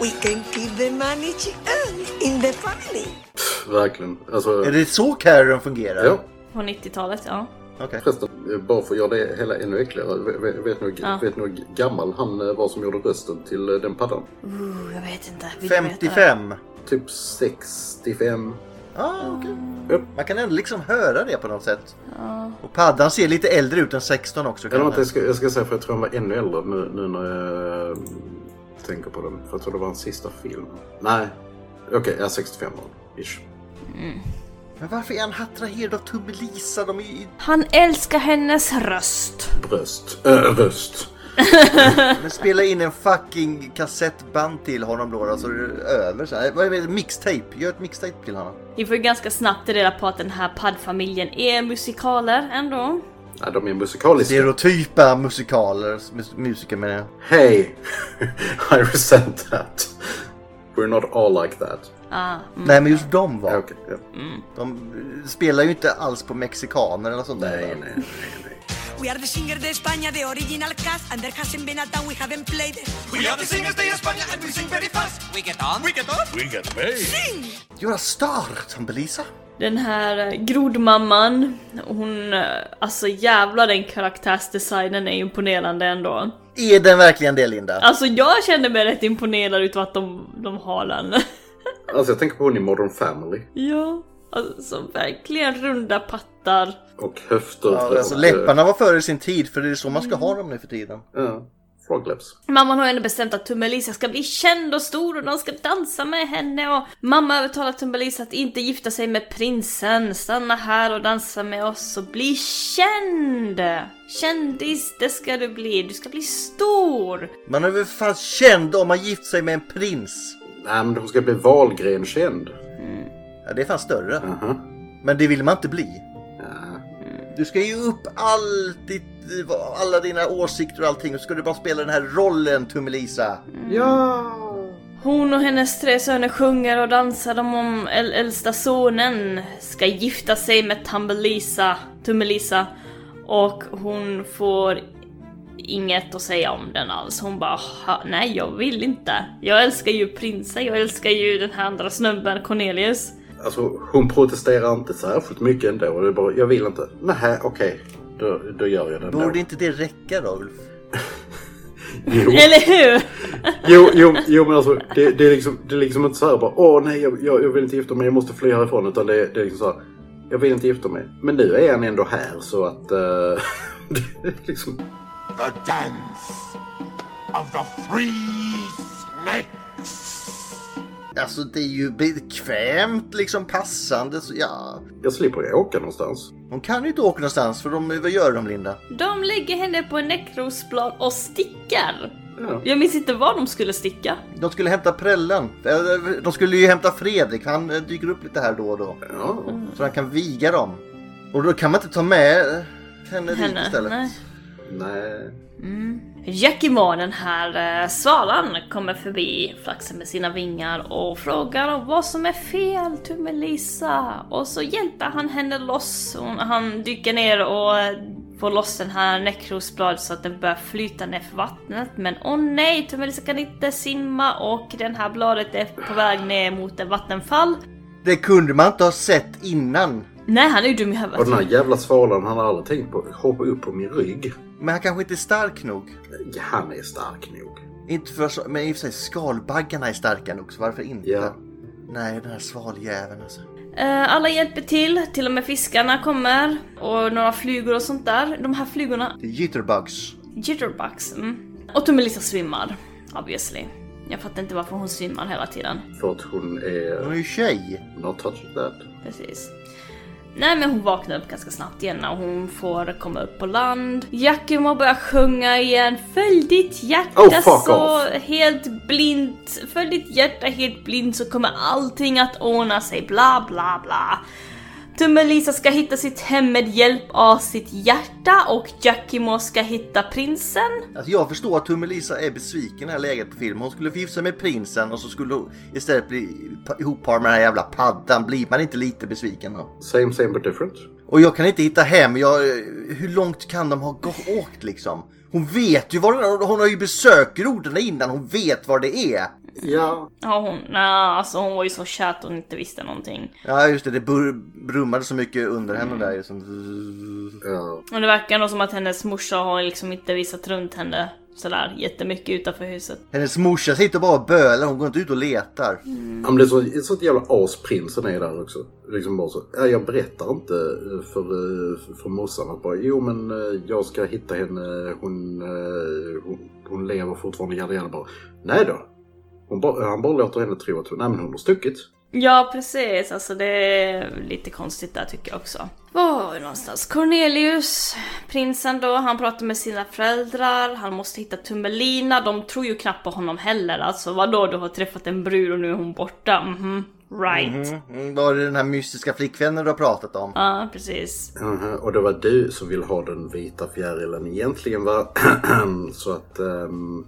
G: We can keep the money she earned in the family.
E: Pff, Verkligen. Alltså,
D: Är det så Karen fungerar?
E: ja.
A: På 90-talet, ja.
D: Okej.
E: Förresten, eh, bara för att göra det hela ännu äckligare. Ve- ve- Vet ni hur
A: Ja.
E: vet ni hur gammal han eh, var som gjorde rösten till eh, den paddan?
A: Uh, jag vet inte. Vill du veta?
D: 55.
E: Typ 65.
D: Ah, okej.
E: Japp.
D: Man kan ändå liksom höra det på något sätt. Och paddan ser lite äldre ut än 16 också.
E: Eller
D: Karen.
E: vänta, jag ska, jag ska säga för jag tror han var ännu äldre nu, nu när jag eh, tänker på den. För jag tror det var hans sista film. Nej, okej, jag är 65 år. Ish.
D: Men varför är han attraherad av Tummelisa? De är ju...
A: Han älskar hennes röst.
E: Bröst. Äh, röst.
D: Men spela in en fucking kassettband till honom då, då så är det över sen. Eh, Vad är det? Mixtape? Gör ett mixtape till honom.
A: Vi får ju ganska snabbt reda på att den här paddfamiljen är musikaler ändå.
E: Nej, de är musikaliska.
D: Stereotypa musikaler, mus- musiker menar jag.
E: Hey! I resent that. We're not all like that.
A: Ah, mm.
D: Nej men just de var.
E: Ja, Okej, ja.
D: De eh, spelar ju inte alls på mexikaner eller sånt där.
E: Nej, nej, nej, nej.
G: We are the singer de España, the original cast, and there hasn't been a time we haven't played it.
C: We are the singers de España and we sing very fast. We get on. We get on.
B: We get paid.
G: Sing!
D: Göra Star-tambelisa?
A: Den här eh, grodmamman, hon... eh, Alltså jävlar den karaktärsdesignen är imponerande ändå.
D: Är den verkligen det Linda?
A: Alltså jag känner mig rätt imponerad utav att de, de har den.
E: Alltså jag tänker på hon i Modern Family.
A: ja, alltså verkligen runda pattar.
E: Och höfter.
D: Ja, alltså,
E: och,
D: läpparna var före sin tid för det är så man ska ha dem nu för tiden.
E: eh, Ja, frog lips.
A: Mamman har ändå bestämt att Tummelisa ska bli känd och stor och de ska dansa med henne och mamma övertalar Tummelisa att inte gifta sig med prinsen, stanna här och dansa med oss och bli känd! Kändis, det ska du bli, du ska bli stor!
D: Man är väl fan känd om man gift sig med en prins?
E: Nej men hon ska bli Wahlgren-känd.
D: Ja, det är fan större.
E: Aha.
D: Men det vill man inte bli.
E: Ja.
D: Du ska ge upp allt ditt, alla dina åsikter och allting och så ska du bara spela den här rollen Tummelisa.
A: Mm.
E: ja.
A: Hon och hennes tre söner sjunger och dansar de om äl- äldsta sonen ska gifta sig med Tambelisa, Tummelisa och hon får inget att säga om den alls. Hon bara "Ha, nej jag vill inte. Jag älskar ju prinsen, jag älskar ju den här andra snubben Cornelius.
E: Alltså hon protesterar inte särskilt mycket ändå. Det är bara, jag vill inte. Nej, okej. Då, då gör jag det ändå.
D: Borde inte det räcka då Ulf?
E: Jo.
A: Eller hur?
E: Jo, jo, jo men alltså det, det, är liksom, det är liksom inte så här bara åh nej jag, jag, jag vill inte gifta mig, jag måste fly härifrån. Utan det, det är liksom så här, jag vill inte gifta mig. Men nu är han ändå här så att... eh, det är liksom,
B: The dance of the free snake.
D: Alltså det är ju bekvämt liksom passande. Så, ja.
E: jag slipper ju åka någonstans.
D: Hon kan ju inte åka någonstans för de, vad gör de Linda?
A: De lägger henne på en nekrosplan och stickar.
E: Ja.
A: Jag minns inte var de skulle sticka.
D: De skulle hämta prällen. Eh, De skulle ju hämta Fredrik. Han eh, dyker upp lite här då och då.
E: Ja.
D: Så han kan viga dem. Och då kan man inte ta med eh, henne, dit
A: Henne.
D: istället.
A: Nej.
E: Nej.
A: Jackimo, den här eh, svalan, kommer förbi, flaxar med sina vingar och frågar om vad som är fel Tummelisa. Och så hjälper han henne loss. Hon, han dyker ner och eh, får loss den här nekrosblad så att den börjar flyta ner för vattnet. Men åh nej, Tummelisa kan inte simma och den här bladet är på väg ner mot ett vattenfall.
D: Det kunde man inte ha sett innan.
A: Nej, han är ju dum i
E: Och den
A: huvudet.
E: här jävla svalan han har aldrig tänkt på hoppa upp på min rygg.
D: Men han kanske inte är stark nog.
E: Han är stark nog.
D: Inte för så, men i och för sig skalbaggarna är starka nog så varför inte?
E: Ja.
D: Nej, den här svaljäveln alltså.
A: Eh, Alla hjälper till, till och med fiskarna kommer och några flugor och sånt där. De här flugorna
D: Det är jitterbugs.
A: Jitterbugs. Mm. Och Tummelisa svimmar, obviously. Jag fattar inte varför hon svimmar hela tiden.
E: För att hon
D: Hon
E: är...
D: är ju tjej.
E: Not touched that.
A: Precis. Nej men hon vaknar upp ganska snabbt igen när hon får komma upp på land. Giacomo börjar sjunga igen. Följ ditt hjärta
E: Oh, fuck
A: så
E: off.
A: helt blint. Följ ditt hjärta helt blint så kommer allting att ordna sig. Bla bla bla. Tummelisa ska hitta sitt hem med hjälp av sitt hjärta och Giacomo ska hitta prinsen.
D: Alltså jag förstår att Tummelisa är besviken i det här läget på filmen. Hon skulle förgifta sig med prinsen och så skulle hon istället bli pa- ihopparad med den här jävla paddan. Blir man inte lite besviken då?
E: Same same but different.
D: Och jag kan inte hitta hem. Jag, hur långt kan de ha gå- åkt liksom? Hon vet ju var den är. Hon har ju besökroderna innan. Hon vet var det är.
E: Ja.
A: Ja hon, nej, alltså hon var ju så kär att hon inte visste någonting.
D: Ja just det, det bur- brummade så mycket under henne där. Liksom.
E: Ja.
A: Och det verkar nog som att hennes morsa har liksom inte visat runt henne sådär jättemycket utanför huset.
D: Hennes morsa sitter bara och bölar. Hon går inte ut och letar.
E: Ja, men det är så, det är sånt jävla asprinsen är där också. Liksom bara så. Ja, jag berättar inte eh, för, eh, för morsan att bara, jo men eh, jag ska hitta henne, hon, eh, hon, hon lever fortfarande, jada jada bara. Nej då. Hon bara, han bara låter henne tro att hon, nej men hon har stuckit.
A: Ja precis, alltså det är lite konstigt där tycker jag också. Var var vi någonstans? Cornelius, prinsen då, han pratar med sina föräldrar, han måste hitta Tummelina, de tror ju knappt på honom heller. Alltså vadå, du har träffat en brud och nu är hon borta? Mhm, right.
D: Mm, mm, var det den här mystiska flickvännen du har pratat om?
A: Ja, precis.
E: Mhm, och det var du som vill ha den vita fjärilen egentligen va? så att ehm,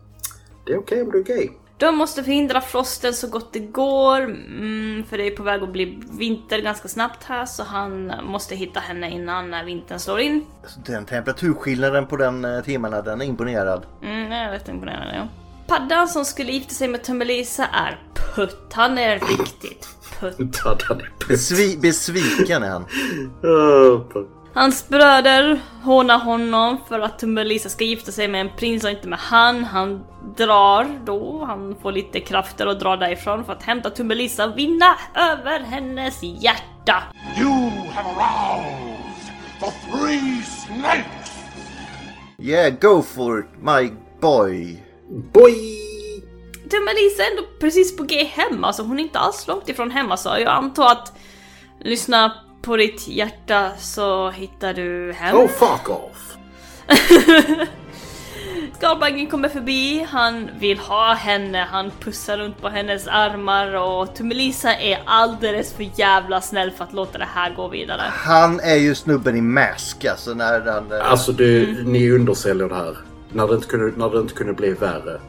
E: det är okej om du är gay.
A: De måste förhindra frosten så gott det går, mm, för det är på väg att bli vinter ganska snabbt här så han måste hitta henne innan när vintern slår in.
D: Alltså, den temperaturskillnaden på den eh, timmarna, den är imponerad.
A: Mm, jag är rätt imponerad ja. Paddan som skulle gifta sig med Tummelisa är putt. Han är riktigt putt.
D: Besvi- besviken är han.
E: Eh,
A: Hans bröder hånar honom för att Tummelisa ska gifta sig med en prins och inte med han. Han drar då, han får lite krafter och drar därifrån för att hämta Tummelisa och vinna över hennes hjärta.
B: You have aroused the three snakes!
D: Yeah, go for it, my boy.
E: Boy!
A: Tummelisa är ändå precis på G hem, alltså hon är inte alls långt ifrån hemma så jag antar att lyssna på ditt hjärta så hittar du hem.
E: Oh fuck off!
A: Skalbaggen kommer förbi, han vill ha henne, han pussar runt på hennes armar och Tummelisa är alldeles för jävla snäll för att låta det här gå vidare.
D: Han är ju snubben i mask alltså när han... eh,
E: Alltså du, ni undersäljer det här. När det inte kunde, när det inte kunde bli värre.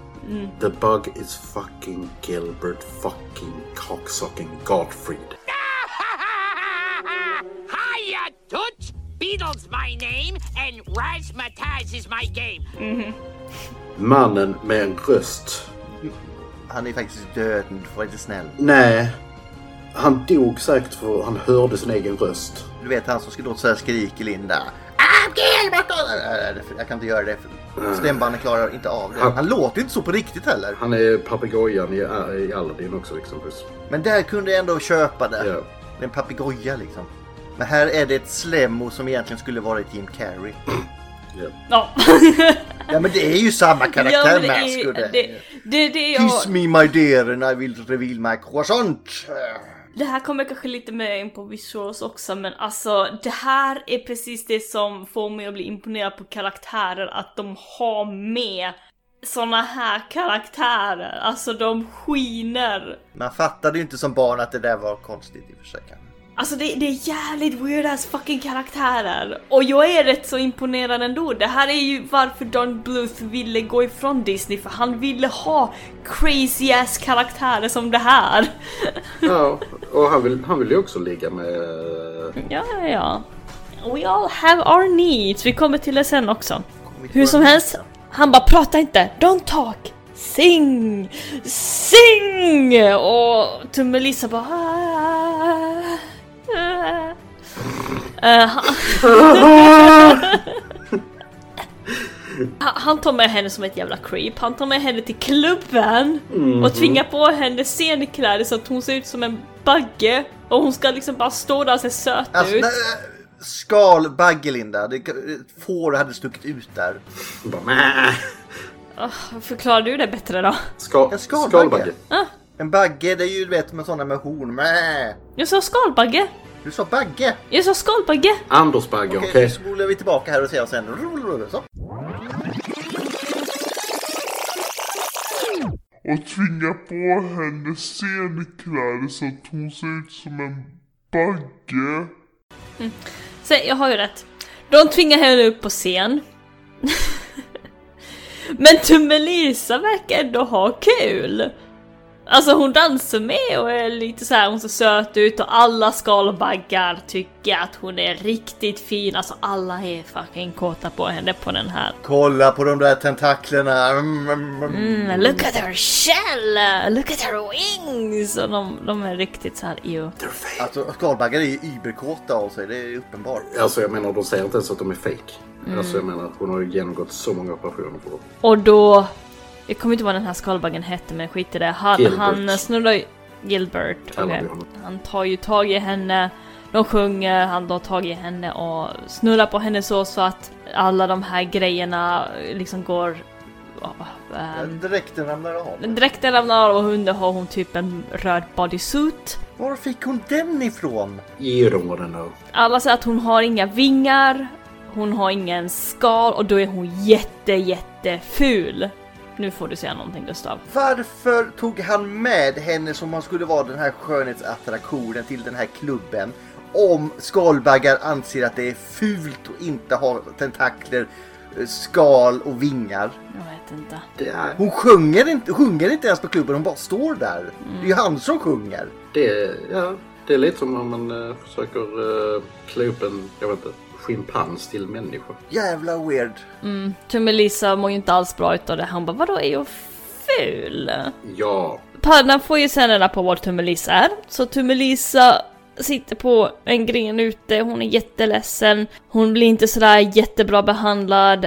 E: The bug is fucking Gilbert fucking cocksucking Gottfried.
K: Hiya, Toots! Beatles my name and Razzmatazz is my game.
E: Mannen med en röst.
D: Han är faktiskt död, du får vara lite snäll.
E: Nej. Han dog säkert för han hörde sin egen röst.
D: Du vet han som skulle låta så här skriker Linda. I'm Gilbert! Nej, nej, Jag kan inte göra det. för Stämbanden klarar inte av det. Han låter inte så på riktigt heller.
E: Han är papegojan i, i Aladdin också liksom. exempelvis.
D: Men där kunde jag ändå köpa det.
E: Ja.
D: Det är en papegoja liksom. Men här är det ett slemmo som egentligen skulle vara ett Jim Carrey.
E: ja.
A: Ja.
D: Ja men det är ju samma
A: Ja,
D: karaktär
A: men det
D: Mask
A: är-
D: och det.
A: det, det, det, är-
D: Kiss me my dear and I will reveal my croissant.
A: det här kommer kanske lite mer in på visuals också men alltså det här är precis det som får mig att bli imponerad på karaktärer, att de har med såna här karaktärer. Alltså de skiner.
D: Man fattade ju inte som barn att det där var konstigt i och för sig. kanske.
A: Alltså det, det är jävligt weird ass fucking karaktärer. Och jag är rätt så imponerad ändå. Det här är ju varför Don Bluth ville gå ifrån Disney för han ville ha crazy ass karaktärer som det här.
E: ja, och han vill, han vill ju också ligga med... Mm.
A: Ja, ja, ja. We all have our needs. Vi kommer till det sen också. Hur som helst, han bara prata inte, don't talk. Sing! Sing! Och Tummelisa bara... "Ah, ah." Eh, han- Han- Han tar med henne som ett jävla creep. Han tar med henne till klubben och tvingar på henne scenkläder så att hon ser ut som en bagge. Och hon ska liksom bara stå där och se söt
D: Alltså,
A: ut.
D: nej, skal bagge Linda. Det, får hade stuckit ut där.
E: Bara, "Mä."
A: Förklarar du det bättre då?
E: Ska,
D: En skalbagge.
E: skalbagge.
D: En bagge det är ju du vet med sådana med horn. Mä.
A: Jag sa skalbagge!
D: Du sa bagge.
A: Jag sa skalbagge!
E: Anders Bagge, okej.
D: Okej, nu spolar vi tillbaka här och ser sen. Rull, rull, Så.
L: och tvinga på henne scenkläder så att hon ser ut som en bagge.
A: Säg, jag har ju rätt. De tvingar henne upp på scen. Men Tummelisa verkar ändå ha kul! Alltså hon dansar med och är lite så här, hon ser söt ut och alla skalbaggar tycker att hon är riktigt fin. Alltså alla är fucking kåta på henne på den här.
D: Kolla på de där tentaklerna. Mm, mm, mm.
A: Mm, look at her shell! Look at her wings! Och de, de är riktigt så här, ew.
D: Alltså skalbaggar är ju überkåta av sig, det är uppenbart.
E: Alltså jag menar, de säger inte ens att de är fake.
A: Mm.
E: Alltså jag menar, hon har ju genomgått så många operationer på dem.
A: Och då... Jag kommer inte ihåg vad den här skalbaggen hette men skit i det. Han,
E: Gilbert.
A: han snurrar ju... Gilbert.
E: Kallar
A: okej.
E: vi honom.
A: Han tar ju tag i henne, de sjunger, han tar tag i henne och snurrar på henne så, så att alla de här grejerna liksom går... Um,
D: Dräkten ramlar av.
A: dräkten ramlar av och under har hon typ en röd bodysuit.
D: Var fick hon den ifrån?
E: You don't wanna know.
A: Alla säger att hon har inga vingar, hon har ingen skal och då är hon jätte, jätte ful. Nu får du säga någonting Gustav.
D: Varför tog han med henne som han skulle vara den här skönhetsattraktionen till den här klubben? Om skalbaggar anser att det är fult att inte ha tentakler skal och vingar.
A: Jag vet inte.
E: Det är...
D: Hon sjunger inte, sjunger inte ens på klubben, hon bara står där. Det är ju han som sjunger.
E: Det, ja, det är lite som om man eh, försöker eh, klä upp en, jag vet inte, schimpans till människa.
D: Jävla weird.
A: Mm. Tummelisa mår ju inte alls bra utav det. Han bara vadå är jag ful?
E: Ja,
A: Paddan får ju sen reda på var Tummelisa är. Så Tummelisa sitter på en gren ute, hon är jätteledsen. Hon blir inte sådär jättebra behandlad.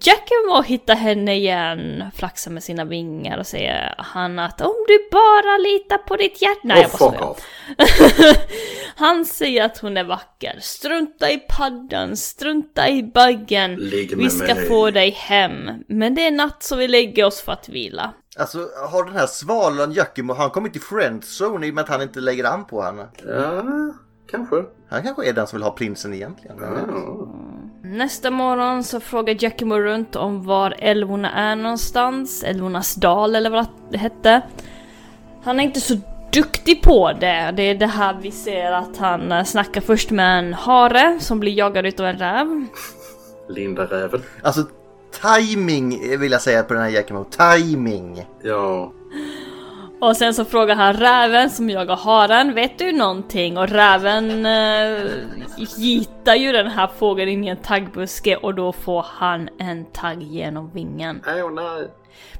A: Jack är med och hittar henne igen, flaxar med sina vingar och säger han att om du bara litar på ditt hjärta... Nej, jag bara
E: och
A: skojar.
E: Oh, fuck off.
A: Han säger att hon är vacker. Strunta i paddan, strunta i baggen.
D: Ligg med
A: Vi ska
D: mig.
A: få dig hem. Men det är natt så vi lägger oss för att vila.
D: Alltså har den här svalan Jackimo, har han kommit i friendzone i och med att han inte lägger an på henne?
E: Ja, kanske.
D: Han kanske är den som vill ha prinsen egentligen.
A: Nästa morgon så frågar Jackimo runt om var älvorna är någonstans. Älvornas dal eller vad det hette. Han är inte så duktig på det. Det är det här vi ser att han eh, snackar först med en hare som blir jagad utav en räv.
E: Linda Räven.
D: Alltså timing vill jag säga på den här Jackimo. Timing!
E: Ja.
A: Och sen så frågar han räven som jagar haren, vet du någonting? Och räven eh, gitar ju den här fågeln in i en taggbuske och då får han en tagg genom vingen.
E: Oh, nej.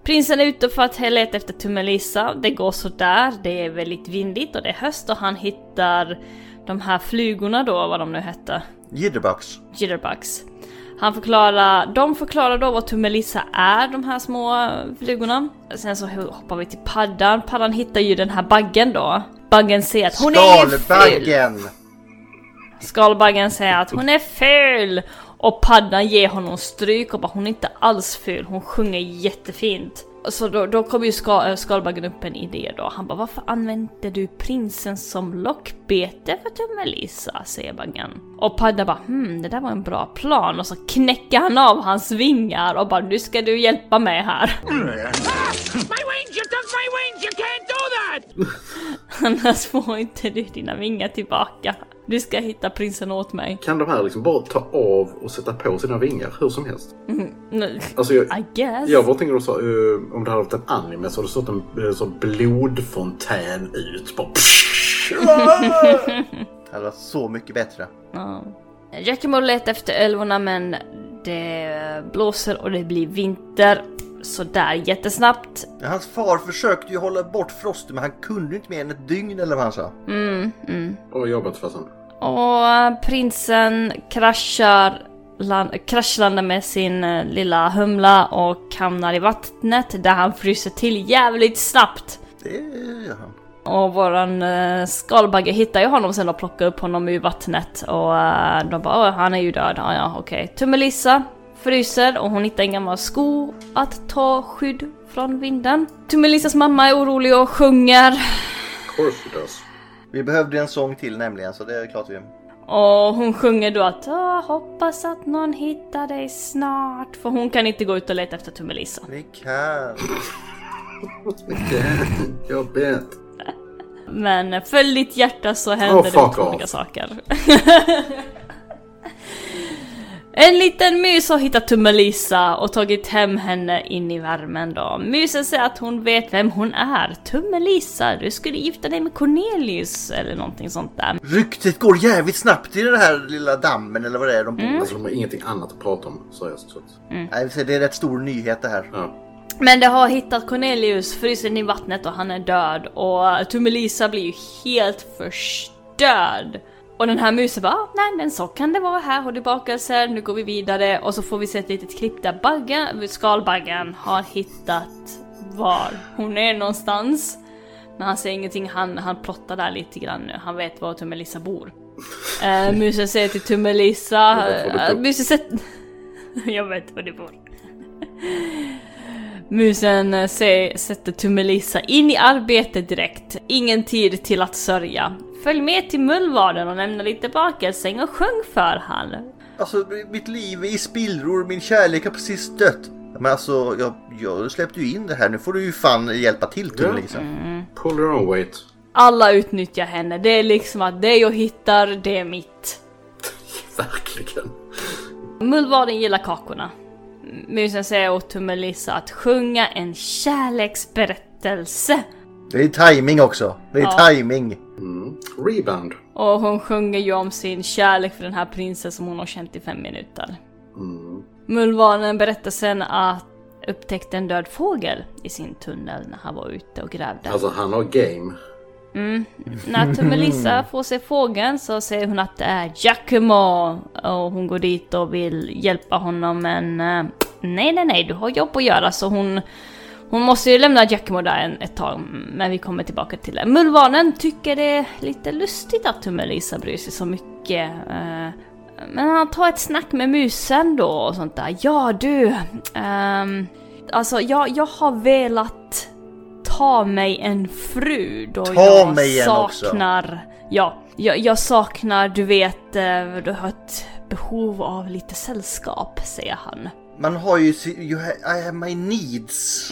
A: Prinsen är ute för att leta efter Tummelisa. Det går sådär, det är väldigt vindigt och det är höst och han hittar de här flugorna då, vad de nu hette.
D: Jitterbugs.
A: Jitterbugs. Han förklarar, de förklarar då vad Tummelissa är, de här små flugorna. Sen så hoppar vi till paddan. Paddan hittar ju den här baggen då. Baggen säger att hon är ju ful!
D: Skalbaggen!
A: Skalbaggen säger att hon är ful! Och paddan ger honom stryk och bara hon är inte alls ful, hon sjunger jättefint. Så då, då kommer ju ska, äh, skalbaggen upp en idé då. Han bara varför använder du prinsen som lockbete för Tummelissa? säger baggen. Och paddan bara hmm det där var en bra plan och så knäcker han av hans vingar och bara nu ska du hjälpa mig här.
K: Ah, my wings! You took my wings! You can't do that!
A: Annars får inte du dina vingar tillbaka. Du ska hitta prinsen åt mig.
E: Kan de här liksom bara ta av och sätta på sina vingar hur som helst?
A: Mm, nu-
E: Alltså jag,
A: I guess.
E: jag bara tänker då så, eh, om det hade varit en anime så hade det stått en eh, så blodfontän ut. Bara,
D: Det hade varit så mycket bättre.
A: Ja. Jackimo letar efter älvorna men det blåser och det blir vinter. Sådär jättesnabbt.
D: Hans far försökte ju hålla bort frosten men han kunde ju inte mer än ett dygn eller vad han sa.
A: Mm, mm.
E: och jobbat farsan.
A: Och eh, prinsen kraschar land, kraschlandar med sin eh, lilla humla och hamnar i vattnet där han fryser till jävligt snabbt.
D: Det gör han.
A: Och våran eh, skalbagge hittar ju honom sen och plockar upp honom ur vattnet och eh, de bara "Åh, han är ju död, ja, ja okej. Tummelissa fryser och hon hittar en gammal sko att ta skydd från vinden. Tummelissas mamma är orolig och sjunger
E: Course it does.
D: Vi behövde ju en sång till nämligen så det är klart vi...
A: och hon sjunger då att "Åh, hoppas att någon hittar dig snart för hon kan inte gå ut och leta efter Tummelissa.
D: Vi kan.
E: jag vet.
A: Men följ ditt hjärta så händer
E: Oh,
A: det
E: fuck
A: otroliga
E: off.
A: saker. en liten mus har hittat Tummelisa och tagit hem henne in i värmen då. Musen säger att hon vet vem hon är. Tummelisa, du skulle gifta dig med Cornelius eller någonting sånt där.
D: Ryktet går jävligt snabbt i den här lilla dammen eller vad det är de bor i.
E: Alltså de har ingenting annat att prata om seriöst. Så att,
D: Nej, vi säger, det är rätt stor nyhet det här.
E: ja.
A: Men det har hittat Cornelius frusen i vattnet och han är död och Tummelisa blir ju helt förstörd. Och den här musen bara, "Ah, nej men så kan det vara, här har du bakelser, nu går vi vidare och så får vi se ett litet klipp där baggen, skalbaggen har hittat var hon är någonstans. Men han säger ingenting, han, han plottar där lite grann nu, han vet var Tummelisa bor. Eh, musen säger till Tummelisa,
C: Jag vet var du
A: eh,
C: bor.
A: musen sätter... Jag vet var du bor. Musen eh, se- sätter Tummelisa in i arbete direkt. Ingen tid till att sörja. Följ med till mullvaden och lämna lite bakelsäng och sjung för han.
D: Alltså mitt liv är i spillror, min kärlek har precis dött. Men alltså jag, jag släppte ju in det här, nu får du ju fan hjälpa till Tummelisa.
E: Pull your own weight.
A: Alla utnyttjar henne. Det är liksom att det jag hittar, det är mitt.
E: Verkligen.
A: Mullvaden gillar kakorna. Musen säger åt Tummelissa att sjunga en kärleksberättelse.
D: Det är timing också. Det är
A: Ja.
D: timing.
E: Rebound.
A: Och hon sjunger ju om sin kärlek för den här prinsen som hon har känt i fem minuter. Mullvanen berättar sen att upptäckte en död fågel i sin tunnel när han var ute och grävde.
E: Alltså han har game.
A: Mm. När Tummelissa får se fågeln så säger hon att det är Giacomo och hon går dit och vill hjälpa honom men eh, nej nej nej du har jobb att göra så hon hon måste ju lämna Giacomo där en, ett tag men vi kommer tillbaka till det. Mullvanen tycker det är lite lustigt att Tummelissa bryr sig så mycket eh, men han tar ett snack med musen då och sånt där. Ja du, ehm, alltså jag, jag har velat ta mig en fru då
D: Ta
A: jag
D: mig en också.
A: saknar... Ja, jag, jag saknar, du vet, eh, du har ett behov av lite sällskap, säger han.
D: Man har ju... si- You ha, I have my needs.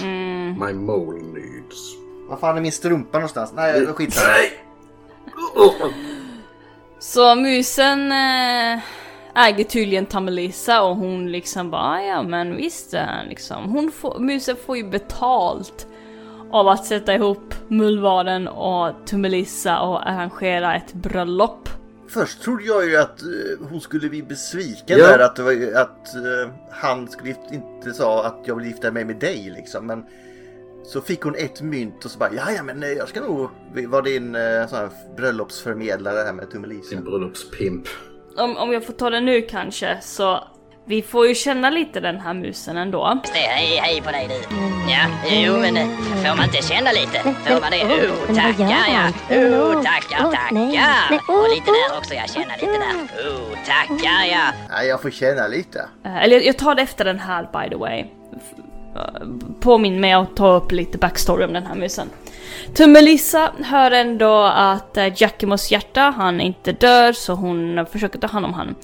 E: My mole needs.
D: Vad fan är min strumpa någonstans? Nej, skitsamma.
A: Så musen eh, äger tydligen Tamelisa och hon liksom bara "Ah, ja men visst eh, liksom. Hon får, musen får ju betalt av att sätta ihop mullvaden och Tumelissa och arrangera ett bröllop.
D: Först trodde jag ju att eh, hon skulle bli besviken
A: Ja.
D: där. Att, det var, ju- att eh, han skulle gift- inte sa att jag vill gifta mig med dig liksom. Men så fick hon ett mynt och så bara ja men eh, jag ska nog vara din eh, sån här bröllopsförmedlare här med Tummelisa.
E: Mm.
D: Din
E: bröllopspimp.
A: Om, om jag får ta det nu kanske så vi får ju känna lite den här musen ändå.
M: Just det, hej, hej på dig du. Ja, jo men eh, får man inte känna lite? Får man det? Oh, tackar ja. Oh, tackar, tackar. Och lite där också, jag känner lite där. Oh, tackar ja.
D: Nej jag får känna lite.
A: Eh, Eller jag- jag tar det efter den här by the way. F- eh, Påminn mig att ta upp lite backstory om den här musen. Tummelissa hör ändå att eh, Giacomos hjärta, han är inte dör så hon försöker ta hand om honom.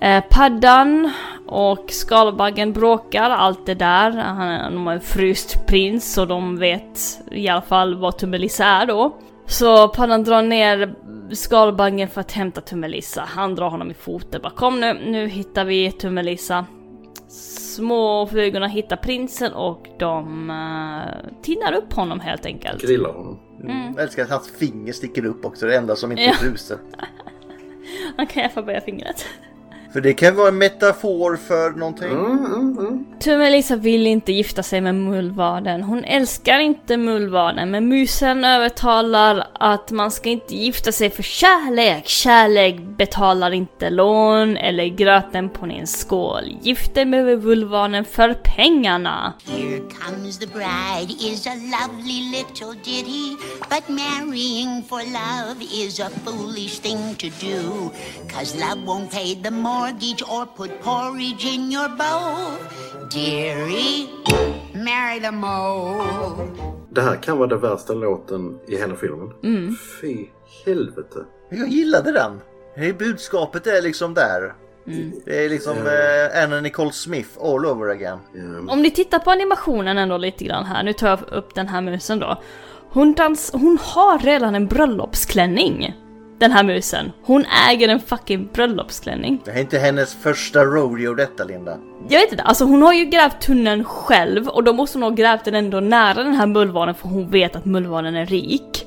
A: Eh, Paddan och skalbaggen bråkar, allt det där. Han, de har en fryst prins och de vet i alla fall vad Tummelissa är då. Så Paddan drar ner skalbaggen för att hämta Tummelissa. Han drar honom i foten bara kom nu, nu hittar vi Tummelissa. Små flugorna hittar prinsen och de uh, tinnar upp honom helt enkelt.
E: Grillar honom.
A: Mm.
D: Jag älskar att hans finger sticker upp också. Det enda som inte
A: Ja.
D: är frusen.
A: Han kan i alla fall böja fingret.
D: För det kan vara en metafor för någonting.
A: Tummelisa vill inte gifta sig med mullvaden. Hon älskar inte mullvaden, men musen övertalar att man ska inte gifta sig för kärlek. Kärlek betalar inte lån eller gröten på din skål. Gift dig med mullvaden för pengarna.
N: Here comes the bride is a lovely little ditty, but marrying for love is a foolish thing to do. Cause love won't pay the mortgage or put porridge in your bowl. Dearie, marry the mole.
E: Det här kan vara den värsta låten i hela filmen.
N: Mm.
E: Fy helvete.
D: Jag gillade den. Det är budskapet är liksom där.
A: Mm.
D: Det är liksom eh, Anna Nicole Smith all over again.
A: Om ni tittar på animationen ändå lite grann här, nu tar jag upp den här musen då. Hon, dans, hon har redan en bröllopsklänning. Den här musen. Hon äger en fucking bröllopsklänning.
D: Det är inte hennes första rodeo detta Linda.
A: Jag vet inte, alltså hon har ju grävt tunneln själv och då måste hon ha grävt den ändå nära den här mullvanen för hon vet att mullvanen är rik.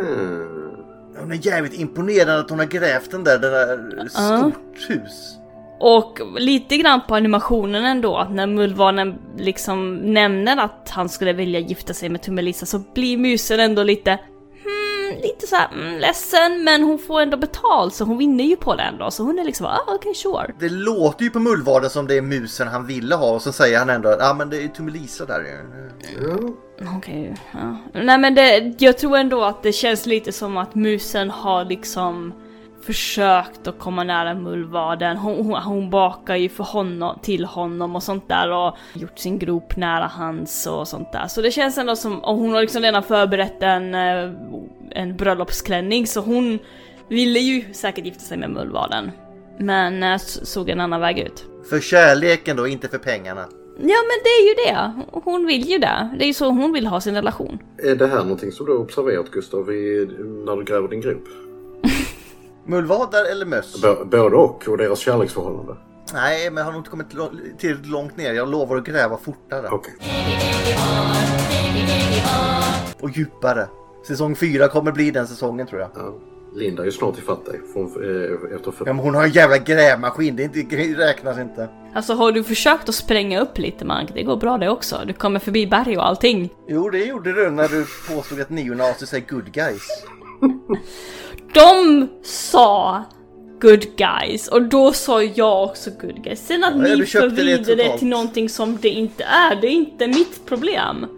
E: Ah.
D: Hon är jävligt imponerande att hon har grävt den där, den där stort hus.
A: Och lite grann på animationen ändå, att när mullvanen liksom nämner att han skulle vilja gifta sig med Tummelisa så blir musen ändå lite hmm, lite såhär mm, ledsen men hon får ändå betalt så hon vinner ju på det ändå så hon är liksom ah okej sure.
D: Det låter ju på mullvaden som det är musen han ville ha och så säger han ändå att ah, men det är Tummelisa där ju.
A: Okej, ja. Nej men det, jag tror ändå att det känns lite som att musen har liksom försökt att komma nära mullvaden. Hon, hon, hon bakar ju för honom, till honom och sånt där och gjort sin grop nära hans och sånt där. Så det känns ändå som, och hon har liksom redan förberett en, eh, en bröllopsklänning så hon ville ju säkert gifta sig med mullvaden. Men eh, s- såg en annan väg ut.
D: För kärleken då, inte för pengarna.
A: Ja men det är ju det! Hon vill ju det. Det är ju så hon vill ha sin relation.
E: Är det här någonting som du har observerat Gustav i, när du gräver din grop?
D: Mullvadar eller möss?
E: B- både och och deras kärleksförhållande.
D: Nej, men jag har nog inte kommit lo- tillräckligt långt ner. Jag lovar att gräva fortare. Och djupare. Säsong fyra kommer bli den säsongen tror jag.
E: Linda är ju snart ifatt dig. För hon, eh, efter för...
D: Ja, men hon har en jävla grävmaskin. Det, är inte, det räknas inte.
A: Alltså har du försökt att spränga upp lite Mark? Det går bra det också. Du kommer förbi berg och allting.
D: Jo, det gjorde du när du påstod att neonazier är good guys.
A: De sa good guys och då sa jag också good guys. Sen att
D: Ja,
A: ni
D: du köpte det
A: förvrider det
D: totalt.
A: till någonting som det inte är, det är inte mitt problem.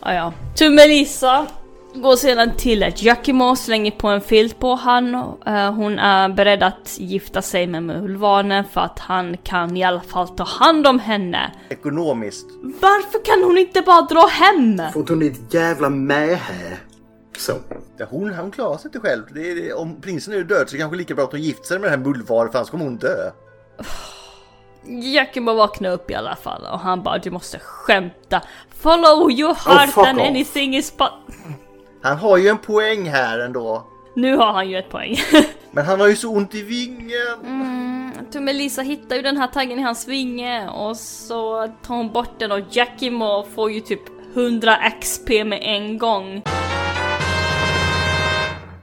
A: ah, ja. Tummelisa går sedan till ett Giacomo, slänger på en filt på han. Eh, hon är beredd att gifta sig med Mulvanen för att han kan i alla fall ta hand om henne.
D: Ekonomiskt.
A: Varför kan hon inte bara dra hem?
E: Får hon ditt jävla mähä? Så.
D: Ja, hon, hon klarar sig inte själv. Det är, om prinsen nu är död så kanske det är lika bra att hon gifter sig med den här Mulvar för annars kommer hon dö.
A: Jacken bara vaknar upp i alla fall och han bara du måste skämta. Follow your heart
D: Oh, fuck
A: and
D: off.
A: anything is po-
D: Han har ju en poäng här ändå.
A: Nu har han ju ett poäng.
D: Men han har ju så ont i vingen.
A: Mm, Tummelisa hittar ju den här taggen i hans vinge och så tar hon bort den och Jackimo får ju typ 100 XP med en gång.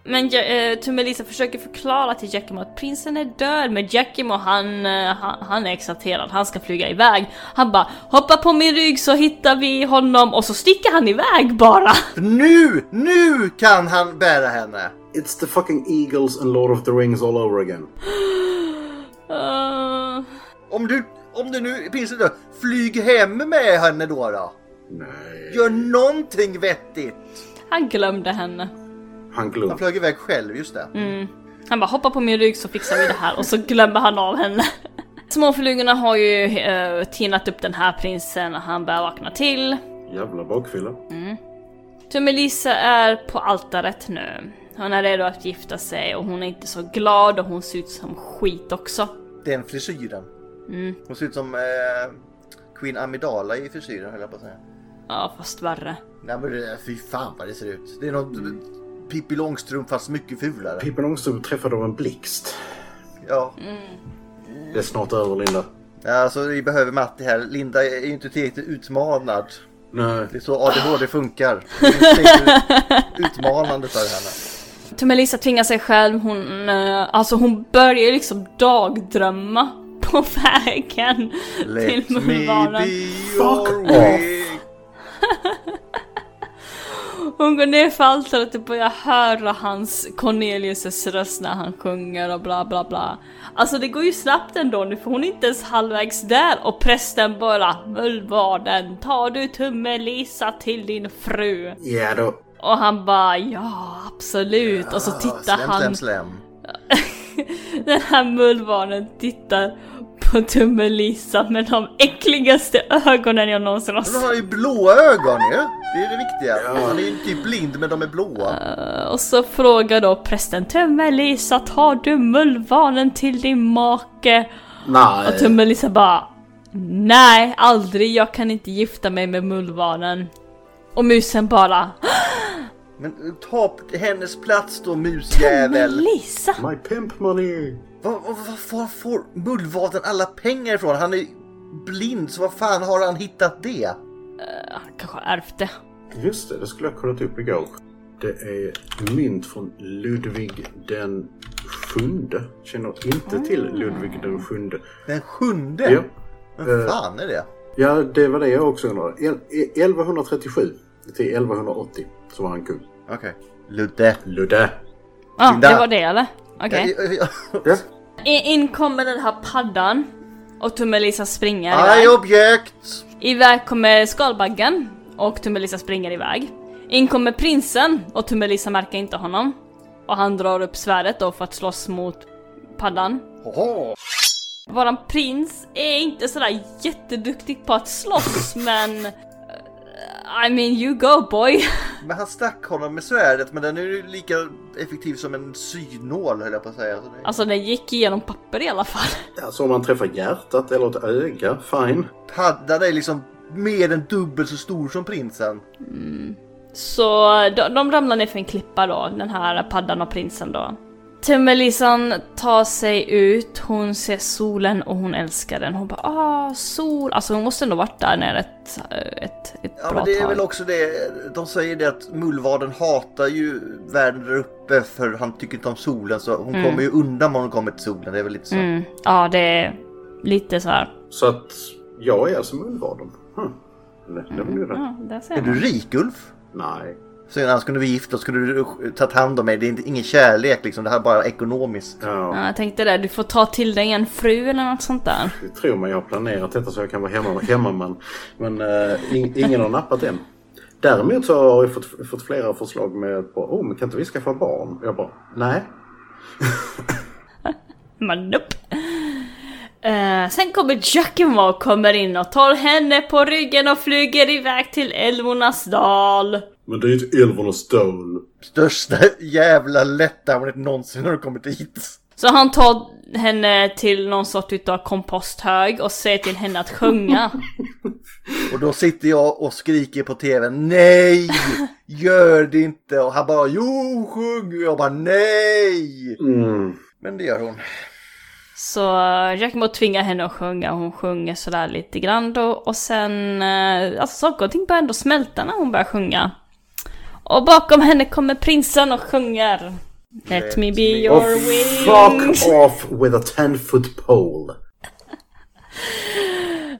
A: Men Ja- eh, Tummelisa försöker förklara till Jackimo att prinsen är död men Jackimo han, eh, han, han är exalterad, han ska flyga iväg. Han bara hoppa på min rygg så hittar vi honom och så sticker han iväg bara.
D: Nu, nu kan han bära henne.
E: It's the fucking Eagles and Lord of the Rings all over again.
A: Eh,
D: Om du, om du nu prinsen är död, flyg hem med henne då då.
E: Nej.
D: Gör någonting vettigt.
A: Han glömde henne.
E: Han glömde.
D: Han flög iväg själv, just det.
A: Mm. Han bara hoppa på min rygg så fixar vi det här och så glömmer han av henne. Småflugorna har ju eh, tinat upp den här prinsen och han börjar vakna till.
E: Jävla bakfylla.
A: Mm. Tummelisa är på altaret nu. Hon är redo att gifta sig och hon är inte så glad och hon ser ut som skit också.
D: Den frisyren.
A: Mm.
D: Hon ser ut som eh, Queen Amidala i frisyren höll jag på att säga.
A: Ja, fast värre.
D: Nej men det, fy fan vad det ser ut. Det är något Pippi Långstrump fast mycket fulare.
E: Pippi Långstrump träffade av en blixt.
D: Ja.
E: Det är snart över Linda.
D: Ja, Alltså vi behöver Matti här. Linda är ju inte tillräckligt utmanad.
E: Nej.
D: Det är så ADHD funkar. Det är inte tillräckligt Utmanande för henne.
A: Tummelisa tvingar sig själv, hon, eh, alltså hon börjar liksom dagdrömma på vägen
D: Let
A: till
D: me
A: Mulvanen.
E: Fuck off!
A: Hon går ner för altaret och typ börjar höra hans Cornelius röst när han sjunger och bla bla bla. Alltså det går ju snabbt ändå nu för hon är inte ens halvvägs där och prästen bara Mullvarden, tar du Tummelisa till din fru?
E: Ja då.
A: Och han bara ja absolut och så tittar
D: Slem,
A: han
D: slem, slem.
A: den här mullvarnen tittar på Tummelisa med de äckligaste ögonen jag någonsin har
D: Men hon
A: sett.
D: har ju blåa ögon ju. Det är det viktiga. Han är ju typ blind men de är blåa.
A: Och så frågar då prästen Tummelisa, tar du mullvarnen till din make? Och
E: Nej.
A: Tummelisa bara Nej, aldrig, jag kan inte gifta mig med mullvarnen. Och musen bara
D: Men ta hennes plats då musjävel.
A: Lisa!
E: My pimp money!
D: Var, var får mullvaden alla pengar ifrån? Han är blind så vad fan har han hittat det?
A: Han kanske har ärvt det.
E: Just det, det skulle jag ha kollat upp igår. Det är mynt från Ludvig den sjunde. Känner inte till Ludvig den sjunde.
D: Den sjunde?
E: Ja.
D: Vem
E: Eh,
D: fan är det?
E: Ja, det var det jag också undrade. El- e- 1137 till 1180 så var han kung.
D: Okej. Ludde.
E: Ludde.
A: Ja, ah,
E: Linda.
A: det var det eller? Okej.
E: Ja.
A: I- In kommer den här paddan och Tummelisa springer
D: Aj
A: iväg.
D: objekt!
A: Iväg kommer skalbaggen och Tummelisa springer iväg. In kommer prinsen och Tummelisa märker inte honom. Och han drar upp svärdet då för att slåss mot paddan.
D: Oho.
A: Våran prins är inte sådär jätteduktig på att slåss men... eh, I mean you go boy!
D: Men han stack honom med svärdet men den är ju lika effektiv som en synål höll jag på att säga. Så det...
A: Alltså den gick igenom papper i alla fall.
E: Alltså om man träffar hjärtat eller ett öga, fine.
D: Paddan är liksom mer än dubbelt så stor som prinsen.
A: Så de, de ramlar ner för en klippa då, den här paddan och prinsen då. Tumelisan tar sig ut, hon ser solen och hon älskar den. Hon bara ah, sol. Alltså hon måste ändå varit där nere ett, ett, ett
D: Ja,
A: bra
D: men det är
A: tag.
D: väl också det. De säger det att mullvaden hatar ju världen där uppe för han tycker inte om solen så hon
A: Mm.
D: kommer ju undan om hon kommer till solen. Det är väl lite så.
A: Mm. Ja, det är lite så här.
E: Så att jag är alltså mullvaden. Hm. Det, det var ju rätt.
A: Ja, där ser
D: Är du
A: man.
D: rik Ulf?
E: Nej.
D: Så annars kunde vi gifta oss, skulle du tagit hand om mig. Det är inte, ingen kärlek liksom, det här är bara ekonomiskt.
A: Ja, jag tänkte det, du får ta till dig en fru eller något sånt där.
E: Jag tror man jag har planerat detta så jag kan vara hemma, hemmaman. Men eh, in, ingen har nappat än. Däremot så har jag fått, fått flera förslag med på, oh, men kan inte vi skaffa barn? Jag bara, nej.
A: Men nope. Eh, sen kommer Giacomo och kommer in och tar henne på ryggen och flyger iväg till Älvornas dal.
E: Men det är ju ett Älvornas dal.
D: Största jävla lätthamnet någonsin när du kommit hit.
A: Så han tar henne till någon sort utav komposthög och säger till henne att sjunga.
D: Och då sitter jag och skriker på tvn Nej! Gör det inte! Och han bara Jo, sjung! Och jag bara Nej!
E: Mm.
D: Men det gör hon.
A: Så eh, Giacomo tvingar henne att sjunga, hon sjunger sådär lite grann då och sen, eh, alltså saker och ting börjar ändå smälta när hon börjar sjunga. Och bakom henne kommer prinsen och sjunger. Let me be
E: Och
A: your wings.
E: fuck off with a 10 foot pole.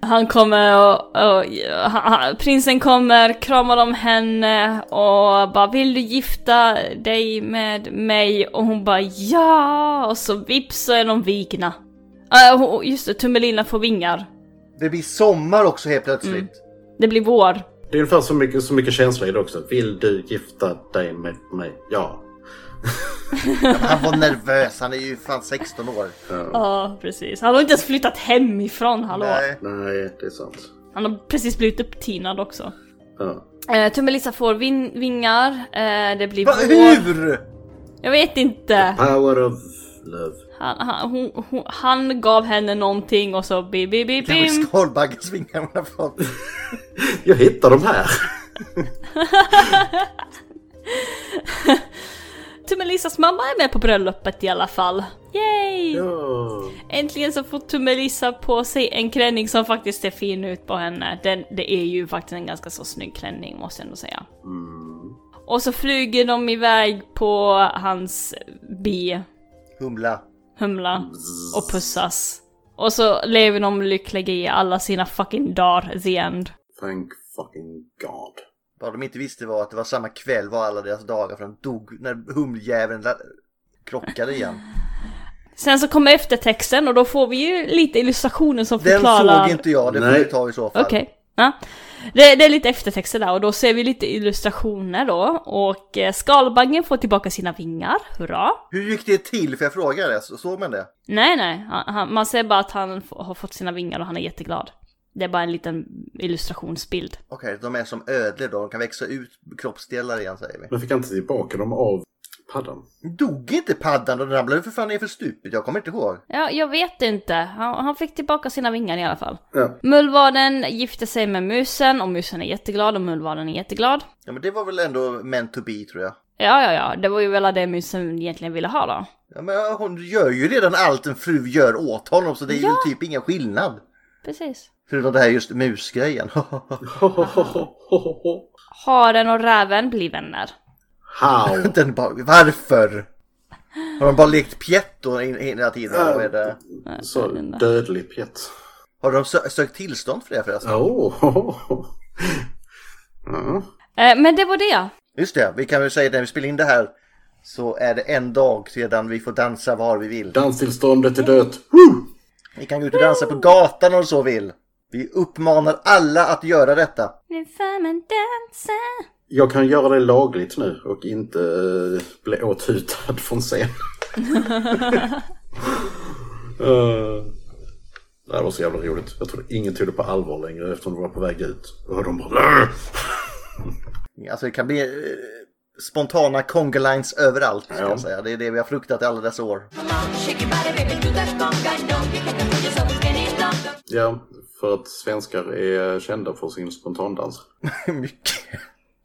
A: Han kommer och, och han, han- prinsen kommer, kramar om henne och bara vill du gifta dig med mig? Och hon bara ja! Och så vips så är de vigna. Äh, hon- just det, Tummelina får vingar.
D: Det blir sommar också helt plötsligt.
A: Mm. Det blir vår.
E: Det är ungefär så mycket, så mycket känsla i det också. Vill du gifta dig med mig? Ja.
D: Han var nervös, han är ju fan 16 år.
A: Ja, precis. Han har inte ens flyttat hemifrån, hallå.
D: Nej.
E: Nej, det är sant.
A: Han har precis blivit upptinad också.
E: Ja.
A: Eh, Tummelisa får vin- vingar, eh, det blir
D: Va,
A: vår.
D: hur?
A: Jag vet inte.
E: Power of love.
A: Han, han, hon, hon, han gav henne någonting och så bim, bim, bim,
D: Kanske
A: bim.
D: skalbaggen svingar hon har fått.
E: Jag hittar de här.
A: Tummelisas mamma är med på bröllopet i alla fall. Yay!
E: Ja.
A: Äntligen så får Tummelisa på sig en klänning som faktiskt ser fin ut på henne. Den, det är ju faktiskt en ganska så snygg klänning måste jag ändå säga.
D: Mm.
A: Och så flyger de iväg på hans bi,
D: Humla.
A: Humla, och pussas. Och så lever de lyckliga i alla sina fucking dagar, the end.
E: Thank fucking god.
D: Vad de inte visste var att det var samma kväll var alla deras dagar för de dog när humljäveln la- krockade igen.
A: Sen så kommer eftertexten och då får vi ju lite illustrationer som
D: Den
A: förklarar...
D: såg inte jag, det får
E: Nej.
D: vi ta i så fall.
A: Okej. Ja. Det, det är lite eftertexter där och då ser vi lite illustrationer då. Och eh, skalbaggen får tillbaka sina vingar, hurra!
D: Hur gick det till? För jag frågade, så- såg man det?
A: Nej, nej, han, han, man ser bara att han f- har fått sina vingar och han är jätteglad. Det är bara en liten illustrationsbild.
D: Okej, de är som ödlor då, de kan växa ut kroppsdelar igen säger vi.
E: Men fick jag inte tillbaka dem av paddan?
D: Dog inte paddan då? Den ramlade ju för fan ner för stupet, jag kommer inte ihåg.
A: Ja, jag vet inte. Han, han fick tillbaka sina vingar i alla fall.
E: Ja.
A: Mullvaden gifte sig med musen och musen är jätteglad och mullvaden är jätteglad.
D: Ja men det var väl ändå meant to be tror jag.
A: Ja, ja, ja, det var ju väl det musen egentligen ville ha då.
D: Ja men ja, hon gör ju redan allt en fru gör åt honom så det är
A: Ja.
D: ju typ ingen skillnad.
A: Precis.
D: Förutom det här just musgrejen.
A: Haren och räven blir vänner.
E: How?
D: Den bara, varför? Har de bara lekt pjättor in- hela tiden? eller vad är det?
E: Så dödlig pjätt.
D: Har de sö- sökt tillstånd för det förresten?
E: Åh. Oh. Ja.
A: Eh, men det var det.
D: Just det, vi kan väl säga att när vi spelar in det här så är det en dag sedan vi får dansa var vi vill.
E: Danstillståndet är dött.
D: Ni kan gå ut och dansa på gatan om så vill. Vi uppmanar alla att göra detta.
A: Nu får man dansa.
E: Jag kan göra det lagligt nu och inte eh, bli åthutad från scen. Eh, Det här var så jävla roligt. Jag tror ingen tog det på allvar längre eftersom de var på väg ut. Och de bara...
D: Alltså det kan bli eh, spontana conga lines överallt. Ska
E: Ja.
D: jag säga. Det är det vi har fruktat i alla dessa år.
E: Ja, för att svenskar är kända för sin spontandans.
D: Mycket.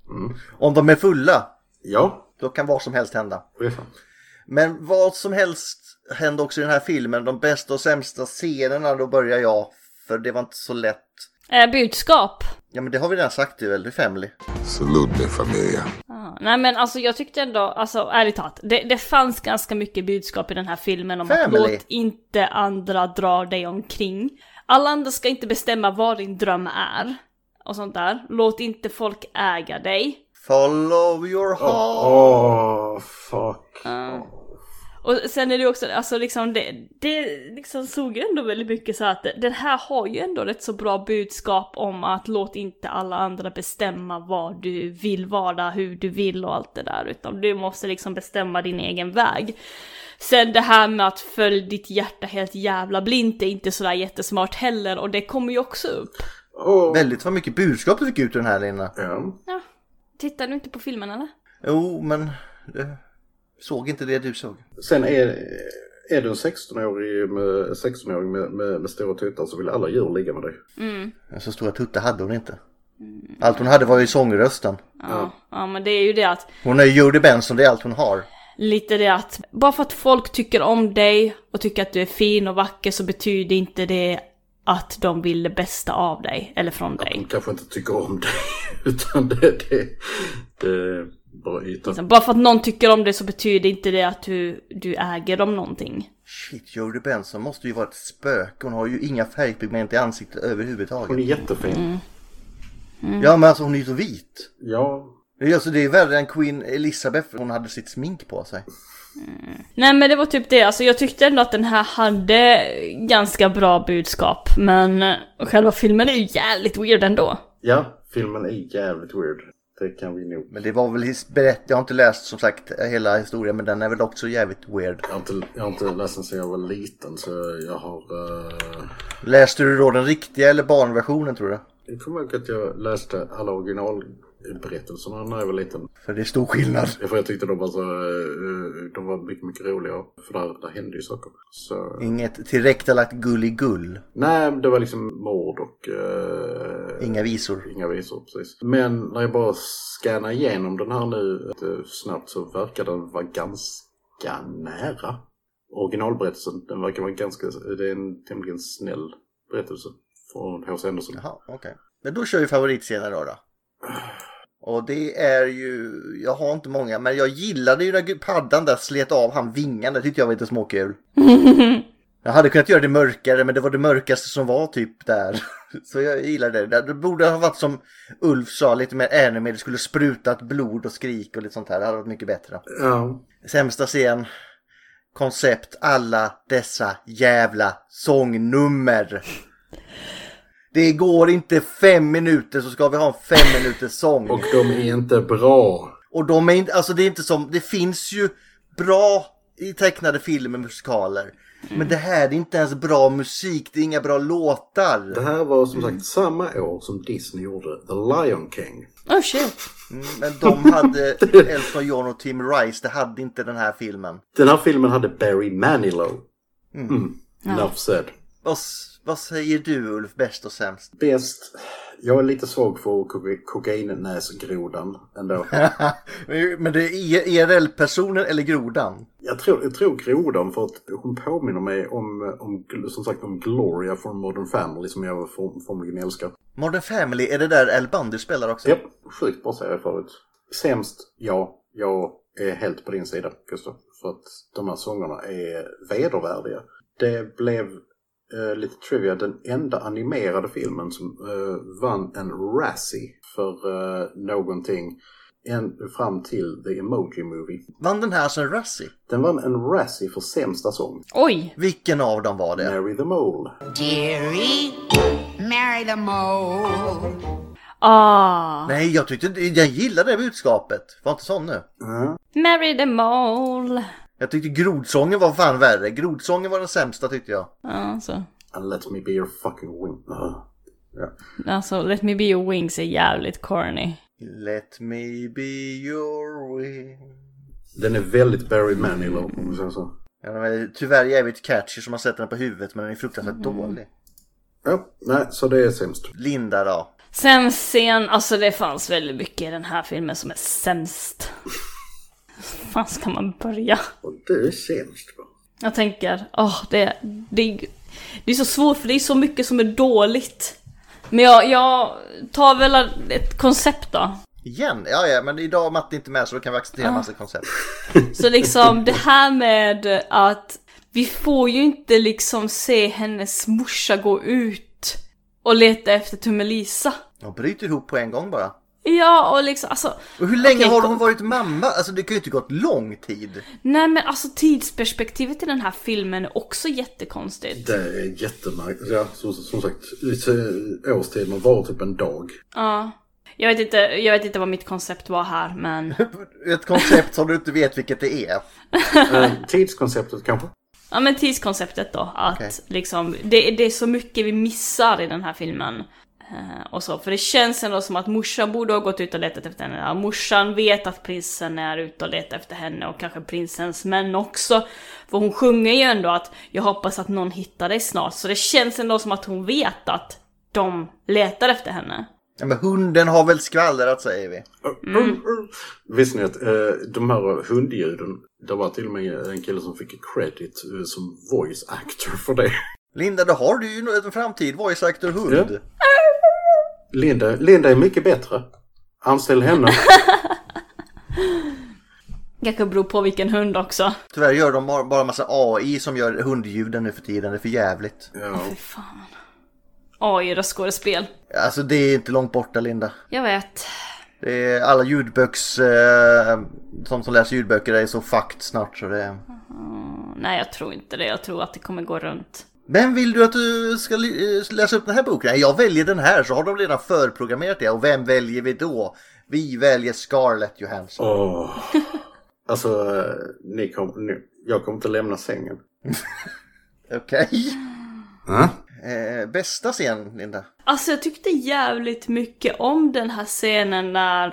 D: Mm. Om de är fulla,
E: ja.
D: då kan vad som helst hända.
E: Det är sant.
D: Men vad som helst hände också i den här filmen. De bästa och sämsta scenerna, då börjar jag. För det var inte så lätt.
A: Eh, budskap.
D: Ja men det har vi redan sagt ju väl, det är Family.
O: Salute mi familia.
A: Ah, nej men alltså jag tyckte ändå, alltså ärligt talat, det, det fanns ganska mycket budskap i den här filmen om att
D: Family.
A: låt inte andra dra dig omkring. Alla andra ska inte bestämma vad din dröm är. Och sånt där. Låt inte folk äga dig.
D: Follow your heart.
E: Åh, fuck.
A: Och sen är det också, alltså liksom det, det liksom såg ju ändå väldigt mycket så här att det- den här har ju ändå rätt så bra budskap om att låt inte alla andra bestämma vad du vill vara, hur du vill och allt det där, utan du måste liksom bestämma din egen väg. Sen det här med att följ ditt hjärta helt jävla blint är inte sådär jättesmart heller och det kommer ju också upp.
D: Väldigt vad mycket budskap du fick ut ur den här Lina.
E: Ja.
A: Ja. Tittar du inte på filmen eller?
D: Jo, men du såg inte det du såg.
E: Sen är, är du en 16-årig med, 16 med, med, med stora tuttar så vill alla djur ligga med dig.
A: Mm.
D: Så stora tuttar hade hon inte. Allt hon hade var ju sångrösten.
A: Ja. Ja men det är ju det att
D: Hon är ju Jodie Benson, det är allt hon har.
A: lite det att bara för att folk tycker om dig och tycker att du är fin och vacker så betyder inte det att de vill det bästa av dig eller från dig.
E: De kanske inte tycker om dig, utan det, det, det är bara ytan.
A: Liksom, bara för att någon tycker om dig så betyder inte det att du, du äger dem någonting.
D: Shit, Jodie Benson måste ju vara ett spöke. Hon har ju inga färgpigment i ansiktet överhuvudtaget.
E: Hon är jättefin.
A: Mm. Mm.
D: Ja, men alltså hon är ju så vit.
E: Ja.
D: Alltså, det är värre än Queen Elizabeth. Hon hade sitt smink på sig.
A: Nej men det var typ det, alltså jag tyckte ändå att den här hade ganska bra budskap men själva filmen är ju jävligt weird ändå.
E: Ja, filmen är jävligt weird. Det kan vi nog.
D: Men det var väl his berätt... Jag har inte läst som sagt hela historien, men den är väl också jävligt weird.
E: Jag har inte, jag har inte läst den sedan jag var liten så jag har... eh,
D: Läste du då den riktiga eller barnversionen tror du?
E: Jag kommer ihåg att jag läste alla originalberättelserna när jag var liten.
D: För det är stor skillnad.
E: För jag tyckte de var så... eh, De var mycket, mycket roliga. För där, där hände ju saker. Så...
D: Inget tillrättalagt gulligull.
E: Nej, det var liksom mord och... eh,
D: Inga visor.
E: Inga visor, precis. Men när jag bara scannar igenom den här nu eh, snabbt så verkar den vara ganska nära. Originalberättelsen, den verkar vara ganska... Det är en tämligen snäll berättelse från H.C. Andersen.
D: Jaha, okej. Men då kör vi favoritscener då, då. Och det är ju, jag har inte många, men jag gillade ju när gu- paddan där slet av han vingarna, det tyckte jag var lite småkul. Jag hade kunnat göra det mörkare, men det var det mörkaste som var typ där. Så jag gillade det. Det borde ha varit som Ulf sa, lite mer anime, det skulle sprutat blod och skrik och lite sånt här. Det hade varit mycket bättre.
E: Ja.
D: Sämsta scen. Koncept alla dessa jävla sångnummer. Det går inte fem minuter så ska vi ha en fem minuters sång.
E: Och de är inte bra.
D: Och de är inte, alltså det är inte som, det finns ju bra i tecknade filmer musikaler. Men det här är inte ens bra musik, det är inga bra låtar.
E: Det här var som sagt samma år som Disney gjorde The Lion King.
A: Oh shit.
D: Mm, Men de hade Elton John och Tim Rice, det hade inte den här filmen.
E: Den här filmen hade Barry Manilow.
D: Mm.
E: Mm. Enough said.
D: Vad, s- vad säger du Ulf, bäst och sämst?
E: Bäst. Jag är lite svag för koka- kokainnäsgrodan ändå.
D: Men det är E- IRL-personen eller grodan?
E: Jag tror, jag tror grodan för att hon påminner mig om, om, som sagt, om Gloria från Modern Family som jag form- formligen älskar.
D: Modern Family, är det där Al Bundy spelar också?
E: Japp, sjukt bra serie förut. Sämst, ja. Jag är helt på din sida, Gustav. För att de här sångerna är vedervärdiga. Det blev, eh, lite trivia, den enda animerade filmen som eh, vann en Razzie för eh, någonting. En, fram till The Emoji Movie.
D: Vann den här som Razzie?
E: Den vann en Razzie för sämsta sång.
A: Oj!
D: Vilken av dem var det?
E: Mary the Mole.
N: Dearie, marry the mole.
A: Ah.
D: Nej, jag tyckte jag gillade det budskapet. Var inte sån nu.
A: Marry the mole.
D: Jag tyckte grodsången var fan värre. Grodsången var den sämsta tyckte jag.
A: Ja, så.
E: And let me be your fucking wing. Ugh. Ja.
A: Alltså, Let Me Be Your Wings är jävligt corny.
D: Let me be your way.
E: Den är väldigt Barry Manilow, om man säger så.
D: Ja, den är tyvärr jävligt catchy som man sätter den på huvudet men den är fruktansvärt dålig.
E: Ja, nej, så det är sämst.
D: Linda då?
A: Sen sen, alltså det fanns väldigt mycket i den här filmen som är sämst. fan ska man börja?
E: Och du är sämst va?
A: Jag tänker, åh, det, det, det är så svårt för det är så mycket som är dåligt. Men jag, jag tar väl ett koncept då.
D: Igen? Ja, ja, men idag är Matte inte med så då kan vi acceptera
A: Ah.
D: en massa koncept.
A: Så liksom det här med att vi får ju inte liksom se hennes morsa gå ut och leta efter Tummelisa.
D: De bryter ihop på en gång bara.
A: Ja, och liksom alltså...
D: Och hur länge
A: Okej,
D: har
A: kom-
D: hon varit mamma? Alltså det kan ju inte gått lång tid.
A: Nej men alltså tidsperspektivet i den här filmen är också jättekonstigt.
E: Det är jättemärkligt. Ja, som, som sagt, i- årstiden var typ en dag.
A: Ja. Jag vet, inte, jag vet inte vad mitt koncept var här men...
D: Ett koncept som du inte vet vilket det är.
E: Eh, Tidskonceptet kanske?
A: Ja men tidskonceptet då, att
D: Okej.
A: liksom, det, det är så mycket vi missar i den här filmen. Eh, och så, för det känns ändå som att morsan borde ha gått ut och letat efter henne. Ja, morsan vet att prinsen är ute och letar efter henne och kanske prinsens män också. För hon sjunger ju ändå att jag hoppas att någon hittar dig snart. Så det känns ändå som att hon vet att de letar efter henne.
D: Ja, men hunden har väl skvallrat säger vi.
E: Mm. Visste ni att eh, de här hundljuden, det var till och med en kille som fick credit eh, som voice actor för det.
D: Linda, då har du ju nog en framtid. Voice actor hund.
E: Ja. Linda, Linda är mycket bättre. Anställ henne.
A: Kanske beror på vilken hund också.
D: Tyvärr gör de bara bara massa AI som gör hundljuden nu för tiden. Det är för jävligt.
A: Fy fan. Oj, röstskådespel.
D: Alltså det är inte långt borta Linda.
A: Jag vet.
D: Det är alla ljudböcks... Eh, de som läser ljudböcker är så fucked snart så det...
A: Mm, nej, jag tror inte det. Jag tror att det kommer gå runt.
D: Vem vill du att du ska li- eh, läsa upp den här boken? Nej, Jag väljer den här så har de redan förprogrammerat det. Och vem väljer vi då? Vi väljer Scarlett Johansson.
E: Åh. Alltså, eh, ni kom, ni, jag kommer inte lämna sängen.
D: Okej.
E: Mm.
D: Eh, bästa scen, Linda?
A: Alltså jag tyckte jävligt mycket om den här scenen när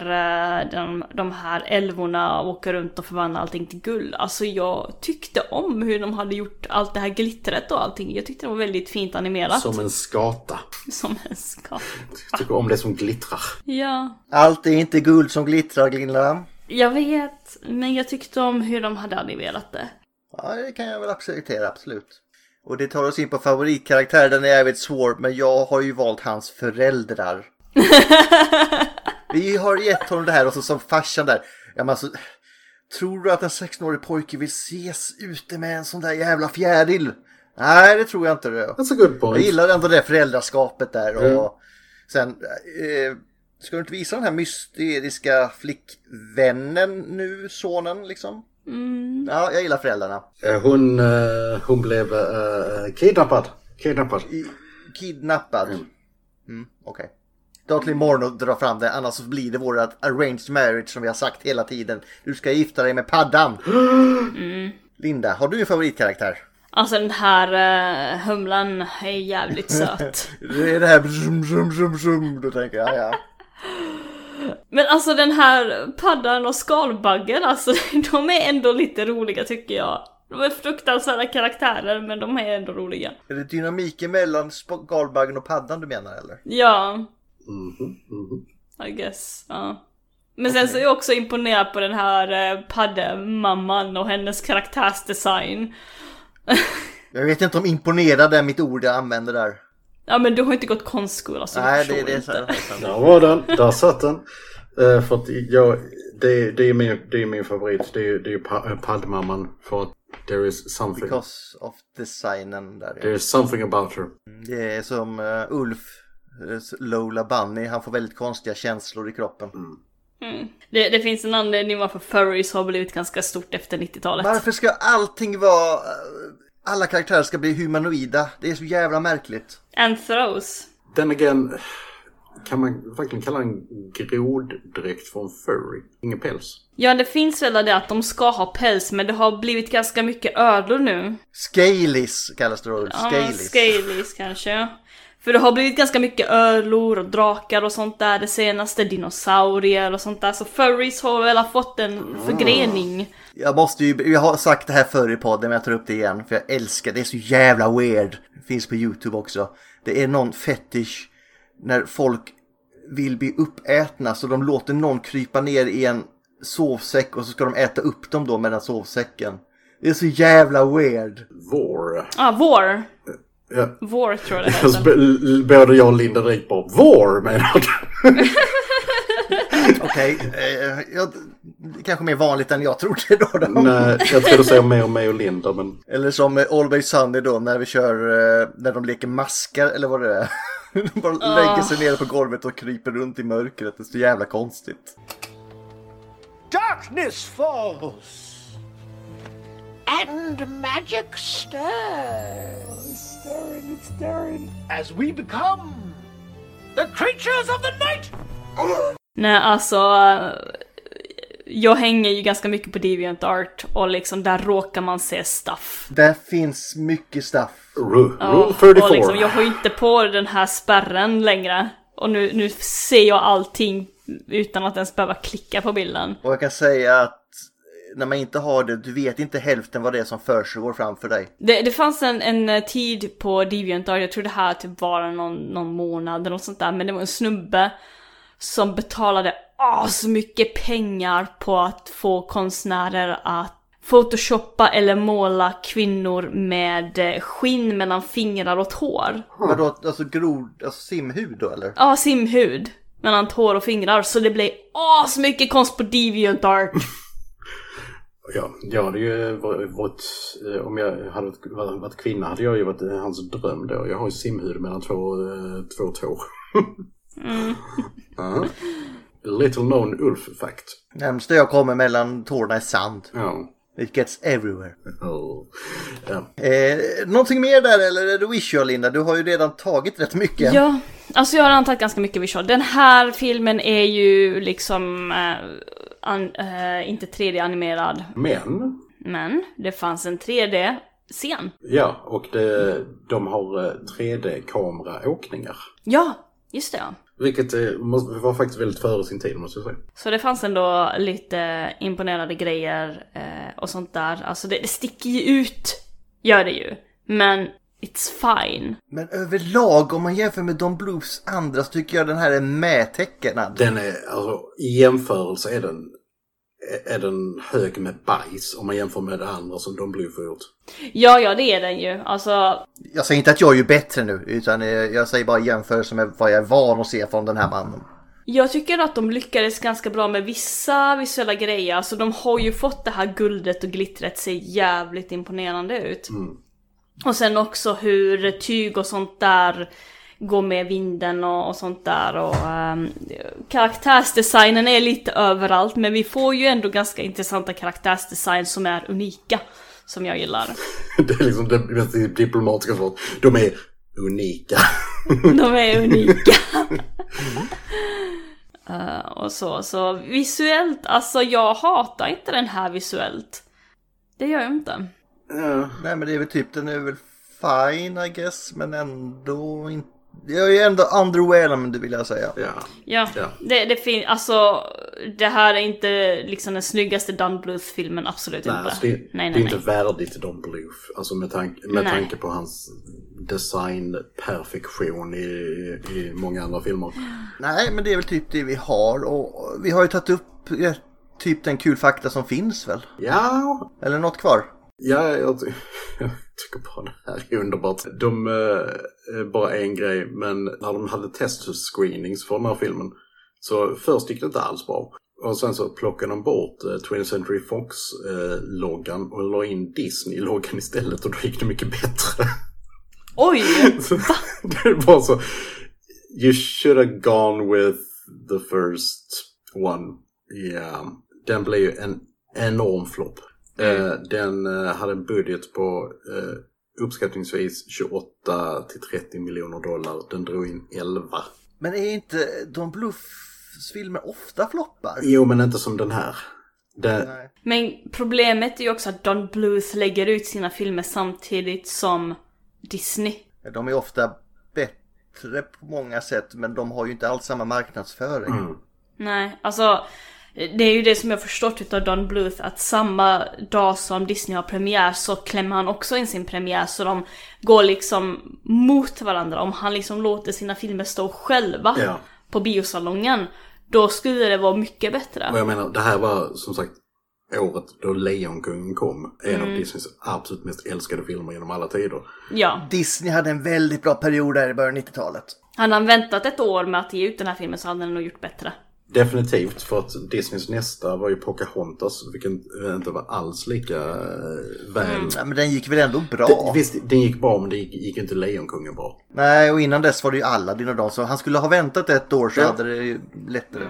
A: eh, de, de här älvorna åker runt och förvandlar allting till guld. Alltså jag tyckte om hur de hade gjort allt det här glittret och allting. Jag tyckte det var väldigt fint animerat.
E: Som en skata.
A: Som en skap.
E: Jag tycker om det som glittrar.
A: Ja,
D: Allt är inte guld som glittrar, Linda.
A: jag vet. Men jag tyckte om hur de hade animerat det.
D: Ja, det kan jag väl acceptera, absolut. Och det tar oss in på favoritkaraktär, den är jävligt svår, men jag har ju valt hans föräldrar. Vi har gett honom det här och så som farsan där. Ja, men alltså, tror du att en 16-årig pojke vill ses ute med en sån där jävla fjäril? Nej, det tror jag inte. Det.
E: That's a good
D: Jag
E: point.
D: gillar ändå det föräldraskapet där. Och
E: Mm.
D: Sen, eh, ska du inte visa den här mysteriska flickvännen nu, sonen liksom?
A: Mm.
D: Ja, jag gillar föräldrarna.
E: Eh, Hon, eh, hon blev eh, kidnappad. Kidnappad.
D: Kidnappad. Mm. Okej. Dra till imorgon och dra fram det, annars så blir det vårt arranged marriage som vi har sagt hela tiden. Du ska gifta dig med paddan! Linda, har du en favoritkaraktär?
A: Alltså den här eh, humlan är jävligt söt.
D: det är det här brum, brum, brum, brum, då tänker jag, ja.
A: Men alltså den här paddan och skalbaggen, alltså de är ändå lite roliga tycker jag. De är fruktansvärda karaktärer men de är ändå roliga.
D: Är det dynamiken mellan sp- galbaggen och paddan du menar eller?
A: Ja,
E: Mhm, mhm.
A: I guess. Ja. Men sen så är jag också imponerad på den här eh, paddemamman och hennes karaktärsdesign.
D: Jag vet inte om imponerad är mitt ord jag använder där.
A: Ja men du har inte gått konstskola så
D: Nej,
A: du
D: det,
A: förstår
D: det är
A: inte.
D: så här.
E: Där var den, där satt den. Eh, för att jag, det, det, är min, det är min favorit, det är, det är pa, eh, Padmamman. För att there is something.
D: Because of designen där.
E: There
D: Ja.
E: is something about her.
D: Det är som eh, Ulf, eh, Lola Bunny, han får väldigt konstiga känslor i kroppen.
A: Mm. Det, det finns en anledning varför furries har blivit ganska stort efter 90-talet.
D: Varför ska allting vara... eh, Alla karaktärer ska bli humanoida. Det är så jävla märkligt.
A: Anthros.
E: Then again, kan man verkligen kalla en groddräkt för en furry? Ingen päls.
A: Ja det finns väl det att de ska ha päls men det har blivit ganska mycket ödlor nu.
D: Scalis kallas det då.
A: Ja, men
D: Scalis.
A: Scalis kanske. För det har blivit ganska mycket ödlor och drakar och sånt där det senaste, dinosaurier och sånt där. Så furries har väl fått en förgrening.
D: Jag måste ju... Jag har sagt det här förr i podden men jag tar upp det igen. För jag älskar... Det är så jävla weird. Det finns på YouTube också. Det är någon fetish när folk vill bli uppätna så de låter någon krypa ner i en sovsäck och så ska de äta upp dem då med den sovsäcken. Det är så jävla weird.
E: Vår.
A: Ah, vår.
E: Eh, Ja.
A: Vår tror jag det
E: Så
A: heter.
E: b- l- Både jag och Linda direkt bara Vår menar du?
D: Okej, eh, ja, det är kanske mer vanligt än jag trodde då. då.
E: Nej, jag skulle säga med och med och Linda men
D: Eller som eh, Always Sunday då när vi kör, eh, när de leker maskar eller vad det är. De bara
A: Ah.
D: lägger sig ner på golvet och kryper runt i mörkret. Det är så jävla konstigt.
C: Darkness falls.
P: And magic stirs. Stirring, it's stirring.
C: As we become the creatures of the night.
A: Nej, alltså... eh, Jag hänger ju ganska mycket på Deviant Art och liksom där råkar man se stuff.
D: Där finns mycket stuff.
A: Ja, Och liksom, jag har ju inte på den här spärren längre. Och nu, nu ser jag allting utan att ens behöva klicka på bilden.
D: Och jag kan säga att eh, när man inte har det, du vet inte hälften vad det är som försiggår framför dig.
A: Det, det fanns en, en eh, tid på DeviantArt, jag tror det här typ var någon, någon månad eller något sånt där, men det var en snubbe som betalade mycket pengar på att få konstnärer att photoshoppa eller måla kvinnor med eh, skinn mellan fingrar och tår.
D: Vadå, alltså grod, alltså simhud då eller?
A: Ja, simhud mellan tår och fingrar, så det blev mycket konst på DeviantArt.
E: ja, jag hade ju var- varit, eh, om jag hade varit- var- varit kvinna hade jag ju varit eh, hans dröm då. Jag har ju simhud mellan två, eh, två tår.
A: Mm.
E: Ja. Little known Ulf fact.
D: Närmsta jag kommer mellan tårna är sand.
E: Ja.
D: It gets everywhere.
E: Oh. Ja.
D: Eh, någonting mer där eller är det Wish Linda? Du har ju redan tagit rätt mycket.
A: Ja, alltså jag har antat ganska mycket visual. Den här filmen är ju liksom eh, an, eh, inte 3D-animerad.
E: Men,
A: Men det fanns en 3D-scen.
E: ja, och det, de har eh, 3D-kameraåkningar.
A: Ja, just det ja.
E: Vilket eh, måste- var faktiskt väldigt före sin tid måste jag säga.
A: Så det fanns ändå lite imponerande grejer eh, och sånt där. Alltså det, det sticker ju ut, gör det ju. Men it's fine.
D: Men överlag, om man jämför med Don Blues andra så tycker jag den här är medtecknad.
E: Den är, alltså, i jämförelse är den, är- är den hög med bajs om man jämför med det andra som Don Bluth har gjort.
A: Ja, ja det är den ju. Alltså,
D: Jag säger inte att jag är ju bättre nu, utan eh, jag säger bara i jämförelse med vad jag är van att se från den här mannen.
A: Jag tycker att de lyckades ganska bra med vissa visuella grejer, alltså de har ju fått det här guldet och glittret ser jävligt imponerande ut. Och sen också hur tyg och sånt där går med vinden och, och sånt där och ehm, karaktärsdesignen är lite överallt men vi får ju ändå ganska intressanta karaktärsdesign som är unika. Som jag gillar.
E: Det är liksom det mest diplomatiska svaret. De är unika.
A: De är unika. Eh, och så, så visuellt, alltså jag hatar inte den här visuellt. Det gör jag inte.
D: Nej men det är väl typ, den är väl fine I guess, men ändå inte... Jag är ändå underwhelmed vill jag säga.
A: Ja,
D: Ja.
A: det, det finns, alltså det här är inte liksom den snyggaste Don Bluth-filmen, absolut
E: Nej,
A: inte.
E: alltså det,
A: nej, nej,
E: det är
A: nej.
E: inte värdigt Don Bluth. Alltså med, tank, med
A: Nej.
E: tanke på hans designperfektion i, i många andra filmer.
D: Nej men det är väl typ det vi har och vi har ju tagit upp eh, typ den kul fakta som finns väl?
E: Ja.
D: Eller något kvar?
E: Ja, jag, ty- jag tycker bara det här är underbart. De, eh, bara en grej, men när de hade testscreenings för den här filmen så först gick det inte alls bra. Och sen så plockade de bort eh, 20th Century Fox-loggan och la in Disney-loggan istället och då gick det mycket bättre.
A: Oj!
E: det var så... You should have gone with the first one. Yeah. Den blev ju en enorm flopp. Eh, den eh, hade en budget på eh, uppskattningsvis 28 till 30 miljoner dollar. Den drog in 11.
D: Men är inte Don Bluths filmer ofta floppar?
E: Jo, men inte som den här. Den,
A: Men problemet är ju också att Don Bluth lägger ut sina filmer samtidigt som Disney.
D: De är ofta bättre på många sätt men de har ju inte alls samma marknadsföring.
E: Mm.
A: Nej, alltså det är ju det som jag förstått utav Don Bluth att samma dag som Disney har premiär så klämmer han också in sin premiär så de går liksom mot varandra om han liksom låter sina filmer stå själva
E: Ja.
A: på biosalongen, då skulle det vara mycket bättre.
E: Och jag menar, det här var som sagt året då Lejonkungen kom. En av
A: Mm.
E: Disneys absolut mest älskade filmer genom alla tider.
A: Ja.
D: Disney hade en väldigt bra period där i början av 90-talet.
A: Hade han väntat ett år med att ge ut den här filmen så hade han nog gjort bättre.
E: Definitivt, för att Disneys nästa var ju Pocahontas, vilken eh, inte var alls lika eh, väl...
A: Mm.
D: Ja, men den gick väl ändå bra?
E: visst, den gick bra, men det gick, gick inte Lejonkungen bra.
D: Nej, och innan dess var det ju Aladdin och dem, så han skulle ha väntat ett år så hade det ju lättare.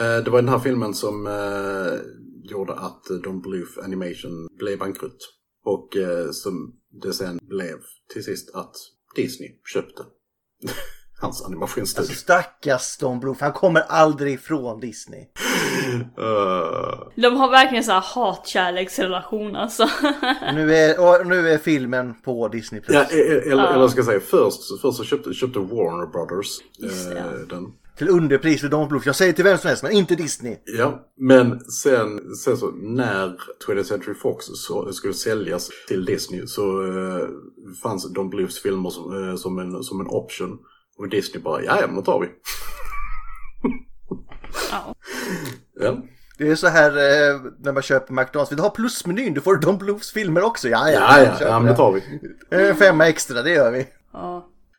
E: Eh, Det var den här filmen som eh, gjorde att eh, Don Bluth Animation blev bankrutt. Och eh, som det sen blev till sist att Disney köpte hans animationsstudio.
D: Alltså stackars Don Bluth, han kommer aldrig ifrån Disney.
E: Eh,
A: De har verkligen så här hat-kärleksrelation alltså.
D: Nu är, och nu är filmen på Disney+. Plus.
E: ja, eh, eh, eller,
A: Ja.
E: eller jag ska säga, först, först så köpte, köpte Warner Brothers
D: Just det,
E: eh,
D: ja.
E: den.
D: Till underpris för Don Bluth. Jag säger till vem som helst, men inte Disney.
E: Ja, men sen, sen så när 20th Century Fox så skulle säljas till Disney så eh, fanns Don Bluths filmer som, eh, som, en, som en option. Och Disney bara, ja, men då tar vi. ja.
D: Det är så här eh, när man köper McDonalds. Vill du ha plusmenyn? Du får Don Bluths filmer också. Ja, ja.
E: Ja, ja,
D: Köp
E: ja, men det tar vi.
D: Eh, Femma extra, det gör vi.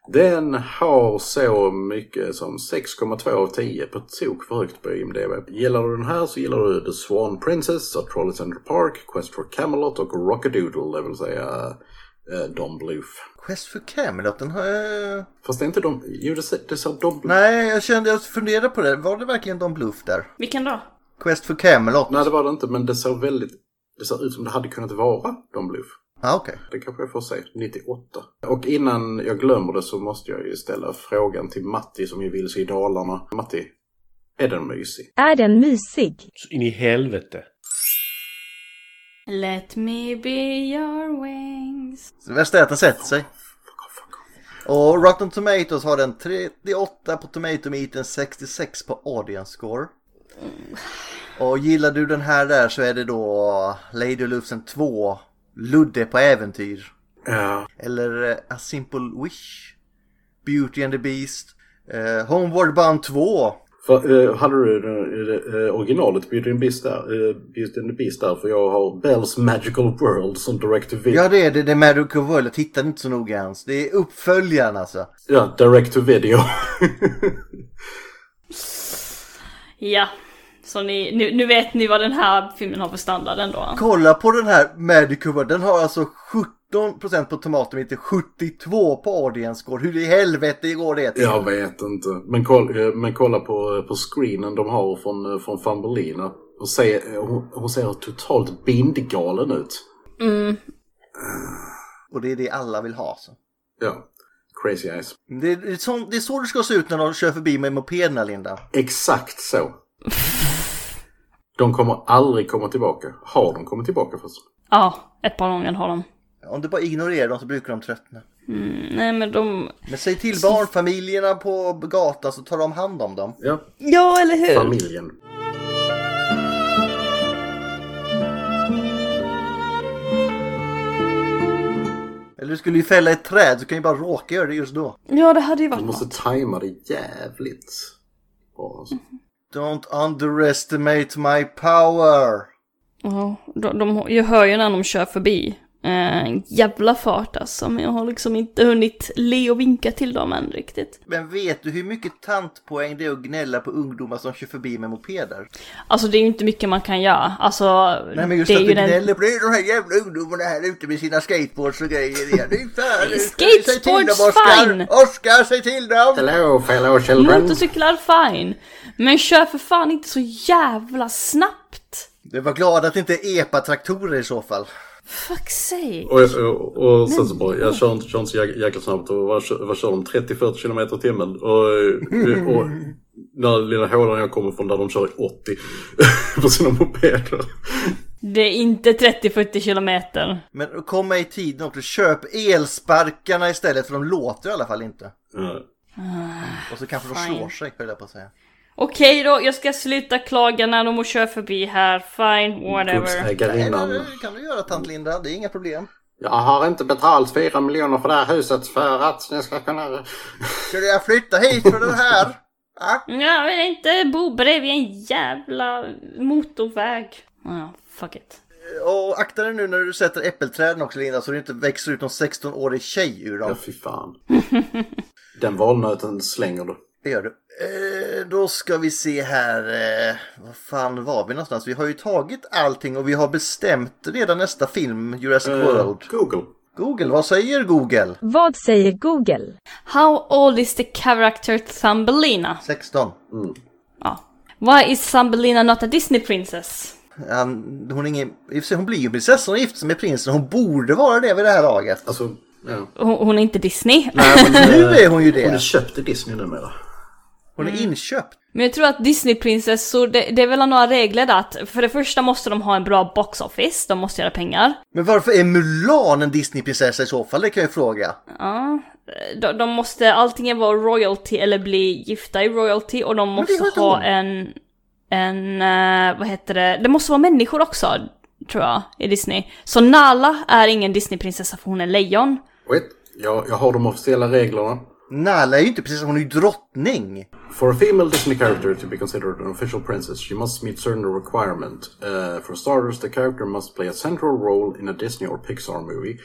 E: Den har så mycket som 6,2 av 10 på tok för högt på IMDB. Gillar du den här så gillar du The Swan Princess, A Troll in Central Park, Quest for Camelot och Rockadoodle, det vill säga eh, Don Bluth.
D: Quest for Camelot, den har... eh,
E: Fast det är inte Don... Jo, det sa- det sa Don Bluth.
D: Nej, jag kände, jag funderade på det. Var det verkligen Don Bluth där?
A: Vilken då?
D: Quest for Camelot?
E: Nej, det var det inte, men det såg väldigt... Det såg ut som det hade kunnat vara Don Bluth.
D: Ah, okej.
E: Det kanske jag får se, 98. Och innan jag glömmer det så måste jag ju ställa frågan till Matti som ju vill se i Dalarna. Matti, är den mysig?
Q: Är den mysig?
R: Så in i helvete.
A: Let me be your wings.
D: Så Det värsta är att den sätter sig. Och Rotten Tomatoes har den 38 på Tomato Meter, 66 på Audience Score. Och gillar du den här där så är det då Lady Lufsen 2, Ludde på äventyr.
E: Ja.
D: Eller eh, A Simple Wish, Beauty and the Beast, eh, Homeward Bound 2.
E: För, eh, hade du eh, eh, originalet Beauty and, Beast där, eh, Beauty and the Beast där? För jag har Bells Magical World som direct to video.
D: Ja det är det, det är Magic of World, jag tittade inte så noga ens. Det är uppföljaren alltså.
E: Ja, direct to video.
A: Ja. Så ni, nu, nu vet ni vad den här filmen har för standard ändå.
D: Kolla på den här Magic of World, den har alltså 17% på Tomatometer, 72 på Audience Score. Hur i helvete går det till?
E: jag vet inte. Men, koll, eh, men kolla på, eh, på screenen de har från, eh, från Fumbelina. Och se, eh, hon, hon ser totalt bindgalen ut.
A: Mm.
D: Och det är det alla vill ha. Så.
E: Ja. Crazy eyes.
D: Det, är, det, är så, det är så det ska se ut när de kör förbi med mopederna Linda.
E: Exakt så. De kommer aldrig komma tillbaka. Har de kommit tillbaka först?
A: Ja, ett par gånger har de.
D: Om du bara ignorerar dem så brukar de tröttna.
A: Mm, nej men de...
D: Men säg till barnfamiljerna på gatan så tar de hand om dem.
E: Ja,
A: Ja, eller hur?
E: familjen.
D: Eller du skulle ju fälla ett träd så kan ju bara råka göra det just då.
A: Ja, det hade ju
E: Du måste tajma det jävligt bra. Alltså.
A: Mhm.
D: Don't underestimate my power.
A: Ja, de, de, jag hör ju när de kör förbi. Eh, en jävla fart alltså, men jag har liksom inte hunnit le och vinka till dem än riktigt.
D: Men vet du hur mycket tantpoäng det är att gnälla på ungdomar som kör förbi med mopeder?
A: Alltså det är ju inte mycket man kan göra. Alltså,
D: Nej men just
A: det är
D: att
A: ju
D: du
A: den...
D: gnäller på det är de här jävla ungdomarna här ute med sina skateboards och grejer igen. Det är fan-
A: Skateboards,
D: säg till dem, Oscar!
A: fine!
D: Oskar, säg till dem!
E: Hello fellow
A: Motorcyklar fine, men kör för fan inte så jävla snabbt!
D: Du var glad att det inte är epatraktorer i så fall.
A: Fuck sake!
E: Och, och, och sen så bara, jag kör inte, kör inte så jäk- jäkla snabbt. Och vad, kör- vad kör de? 30-40 km i timmen. Och, eh, och när lilla hålan jag kommer från där de kör i 80 på sina mopeder.
A: Det är inte 30-40 kilometer.
D: Men kom med i tiden också, köp elsparkarna istället för de låter i alla fall inte. Och så kanske de
A: Fine.
D: slår sig höll jag på att säga.
A: Okej då, jag ska sluta klaga när de kör förbi här. Fine, whatever.
E: Gubbsägarinnan.
D: Nej, det kan du göra tant Linda, det är inga problem.
E: Jag har inte betalt 4 miljoner för det här huset för att jag ska kunna...
D: Skulle jag flytta hit för den här?
A: Jag vill inte bo bredvid en jävla motorväg. Ja, fuck it.
D: Och akta dig nu när du sätter äppelträden också Linda så det inte växer ut någon 16-årig tjej ur dem.
E: Ja, fy fan. Den valnöten slänger du.
D: Det gör du. Eh, då ska vi se här. Eh, vad fan var vi någonstans? Vi har ju tagit allting och vi har bestämt redan nästa film, Jurassic
E: Eh.
D: World.
E: Google.
D: Google, vad säger Google?
Q: Vad säger Google?
A: How old is the character Thumbelina?
D: 16.
A: Ja. Why is Thumbelina not a Disney princess?
D: Han, hon, är ingen, i och för sig, hon blir ju prinsessa, hon är gift sig med prinsen. Hon borde vara det vid det här laget.
E: Alltså, ja.
A: Hon, hon är inte Disney.
D: nu är hon ju det.
E: Mm. Hon är köpt i Disney numera.
D: Hon är inköpt.
A: Men jag tror att Disney-prinsessor, det, det är väl några regler där att för det första måste de ha en bra box office, de måste göra pengar.
D: Men varför är Mulan en Disneyprinsessa i så fall? Det kan jag fråga.
A: Ja. De, de måste antingen vara royalty eller bli gifta i royalty och de
D: det är
A: måste
D: väl
A: ha
D: de.
A: en... En... eh, vad heter det? Det måste vara människor också, tror jag, i Disney. Så Nala är ingen Disneyprinsessa för hon är lejon.
E: Wait, jag, jag har de officiella reglerna.
D: Nala är ju inte precis, hon är ju drottning.
E: For a female Disney character to be considered an official princess, she must meet certain requirements. Uh, for starters, the character must play a central role in a Disney or Pixar movie,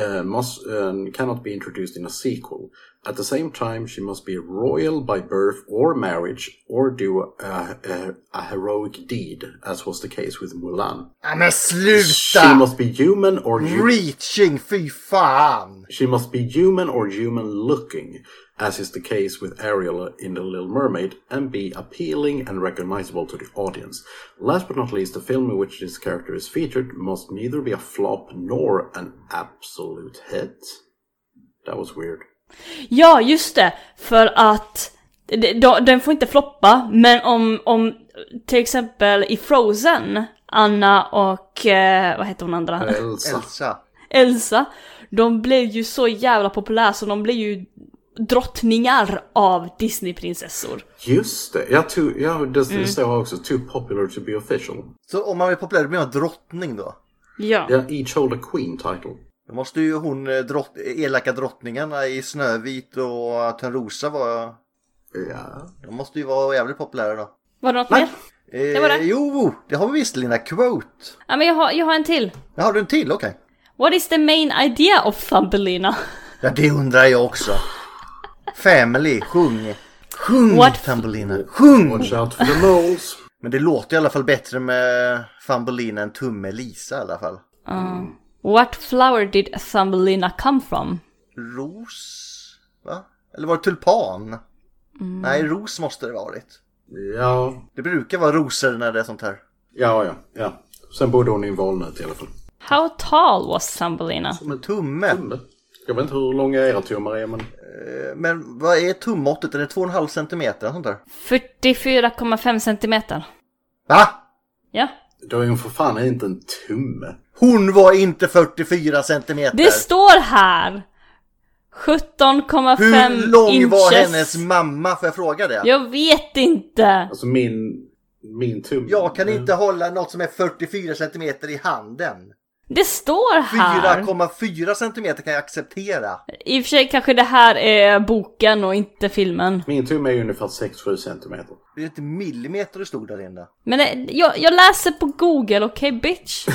E: uh, must um, cannot be introduced in a sequel. At the same time, she must be royal by birth or marriage, or do a, a, a heroic deed, as was the case with Mulan.
D: Ja, men
E: She
D: sluta!
E: must be human or hu-
D: Reaching, fy fan!
E: She must be human or human looking, as is the case with Ariel in The Little Mermaid, and be appealing and recognizable to the audience. Last but not least, the film in which this character is featured must neither be a flop nor an absolute hit. That was weird.
A: Ja, just det! För att de- de- den får inte floppa, men om, om till exempel i Frozen, Anna och... eh, vad heter hon andra?
D: Elsa.
A: Elsa, de blev ju så jävla populära så de blev ju drottningar av Disneyprinsessor.
E: Just det, ja, too, ja det, det
A: Mm.
E: står också too popular to be official.
D: Så om man är populär blir man drottning då?
A: Ja.
E: Yeah, each hold a queen title.
D: Då måste ju hon eh, drott, elaka drottningarna i Snövit och Törnrosa vara...
E: Ja.
D: De måste ju vara jävligt populära då.
A: Var det något mer?
D: Eh,
A: Det var det.
D: Jo, det har vi visst Lina. Quote.
A: Ja men jag har, jag har en till.
D: Ja, har du en till? Okej.
A: What is the main idea of Thumbelina?
D: Ja, det undrar jag också. Family, sjung. Sjung
A: What-
D: Thumbelina. Sjung!
E: Watch out for the moles.
D: Men det låter i alla fall bättre med Thumbelina än Tumme-Lisa i alla fall.
A: Uh, what flower did Thumbelina come from?
D: Ros? Va? Eller var det tulpan?
A: Mm.
D: Nej, ros måste det varit.
E: Ja,
D: Det brukar vara rosor när det är sånt här.
E: ja, ja. ja. oh, Sen bodde hon i en valnöt i alla fall.
A: How tall was Thumbelina?
D: Som en tumme.
E: Jag vet inte hur långa era tummar är, men...
D: Eh, Men vad är tummåttet? Är det 2,5 centimeter? Sånt där?
A: 44,5 centimeter.
D: Va?
A: Ja.
E: Då är hon för fan inte en tumme.
D: Hon var inte 44 centimeter!
A: Det står här! 17,5
D: Hur lång
A: inches.
D: var hennes mamma? Får jag fråga det?
A: Jag vet inte!
E: Alltså min... Min tumme.
D: Jag kan inte hålla något som är 44 centimeter i handen.
A: Det står här!
D: 4,4 centimeter kan jag acceptera.
A: I och för sig kanske det här är boken och inte filmen.
E: Min tumme är ungefär 6-7 centimeter.
D: Det är inte millimeter det stod där inne.
A: Men det, jag, jag läser på google, okej bitch?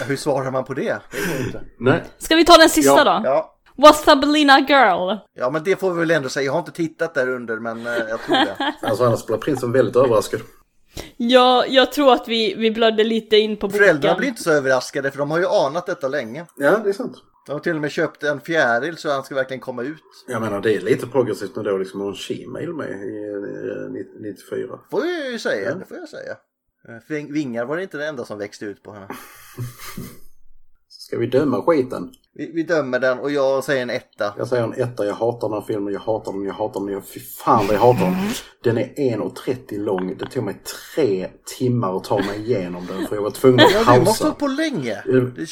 D: Ja, Hur svarar man på det? Det går inte.
E: Nej.
A: Ska vi ta den sista då?
D: Ja.
A: Was Thumbelina a girl?
D: ja, men det får vi väl ändå säga. Jag har inte tittat där under, men eh, jag tror det.
E: Alltså annars blir prinsen väldigt överraskad.
A: Ja, jag tror att vi, vi blödde lite in på boken.
D: Föräldrarna blir inte så överraskade, för de har ju anat detta länge.
E: Ja, det är sant.
D: De har till och med köpt en fjäril så han ska verkligen komma ut.
E: Jag menar, det är lite progressivt ändå liksom att ha en She-mail med i, eh, 90- 94.
D: Får jag ju säga,
E: Mm.
D: det får jag säga. Eh, för Vingar var det inte det enda som växte ut på henne.
E: Ska vi döma skiten?
D: Vi, vi dömer den och jag säger en etta.
E: Jag säger en etta, jag hatar den här filmen, jag hatar den, jag hatar den, jag, fy fan vad jag hatar den. Den är 1.30 lång, det tog mig tre timmar att ta mig igenom den för jag var tvungen att
D: Ja, du måste ha
E: pausa.
D: hållit på länge.
E: Mm.
D: Du,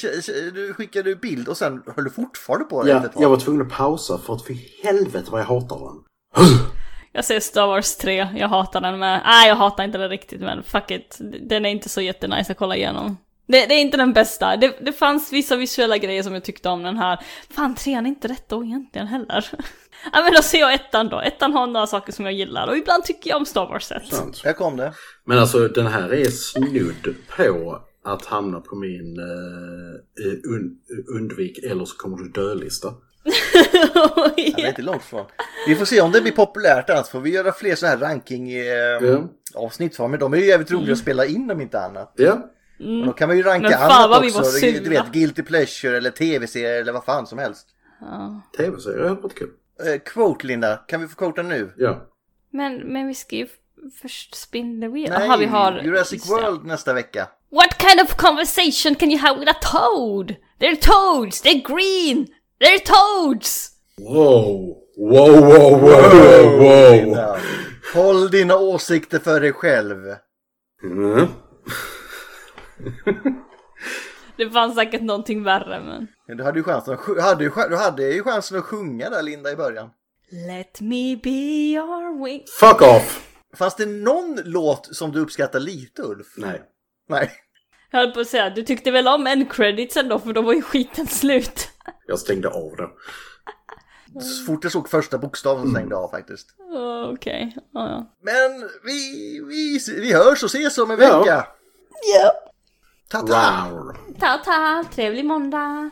D: du skickade ju bild och sen höll du fortfarande på det
E: Ja,
D: efter ett tag.
E: jag var tvungen att pausa för att för helvete vad jag hatar den.
A: Jag säger Star Wars 3, jag hatar den med. Nej, jag hatar inte den riktigt men fuck it. Den är inte så jättenice att kolla igenom. Det, det är inte den bästa. Det, det fanns vissa visuella grejer som jag tyckte om den här. Fan, trean är inte rätt då egentligen heller. ja men då ser jag ettan då. Ettan har några saker som jag gillar och ibland tycker jag om Star Wars-set.
E: Sant.
D: Där kom det.
E: Men alltså den här är snudd på att hamna på min eh, eh, un, undvik eller så kommer du dö-lista.
D: Ja, det är inte långt från. Vi får se om det blir populärt annars får vi göra fler sådana här ranking eh,
E: Ja.
D: avsnitt för. Men de är ju jävligt roliga att
E: Mm.
D: spela in om inte annat.
E: Ja.
D: Och då kan man ju ranka
A: Men fan
D: annat
A: vad vi
D: också.
A: var
D: Du- Du
A: sura.
D: vet, Guilty Pleasure eller tv-serier eller vad fan som helst.
A: Ja.
E: Tv-serier hade varit kul.
D: Eh, quote Linda, kan vi få quota nu?
E: Ja.
A: Men, men vi ska ju f- först spin the wheel.
D: Nej,
A: Aha, vi har...
D: Jurassic World nästa vecka.
A: What kind of conversation can you have with a toad? They're toads! They're green! They're toads!
E: Wow! Wow, wow, wow, wow!
D: Linda, Håll dina åsikter för dig själv.
E: Mm.
A: Det fanns säkert någonting värre men...
D: Men Du hade ju chansen att, sj- hade ju, ch- du hade ju chansen att sjunga där Linda i början.
A: Let me be your wing...
E: Fuck off!
D: Fanns det någon låt som du uppskattar lite Ulf?
E: Nej.
D: Nej.
A: Jag höll på att säga, du tyckte väl om en credits ändå för då var ju skiten slut.
E: Jag stängde av den.
D: Så fort jag såg första bokstaven så stängde jag av faktiskt.
A: Åh, Okej, ja ja.
D: Men vi, vi, vi hörs och ses om en vecka.
A: Ja.
D: Ta-ta.
E: Wow.
A: Ta ta, trevlig måndag!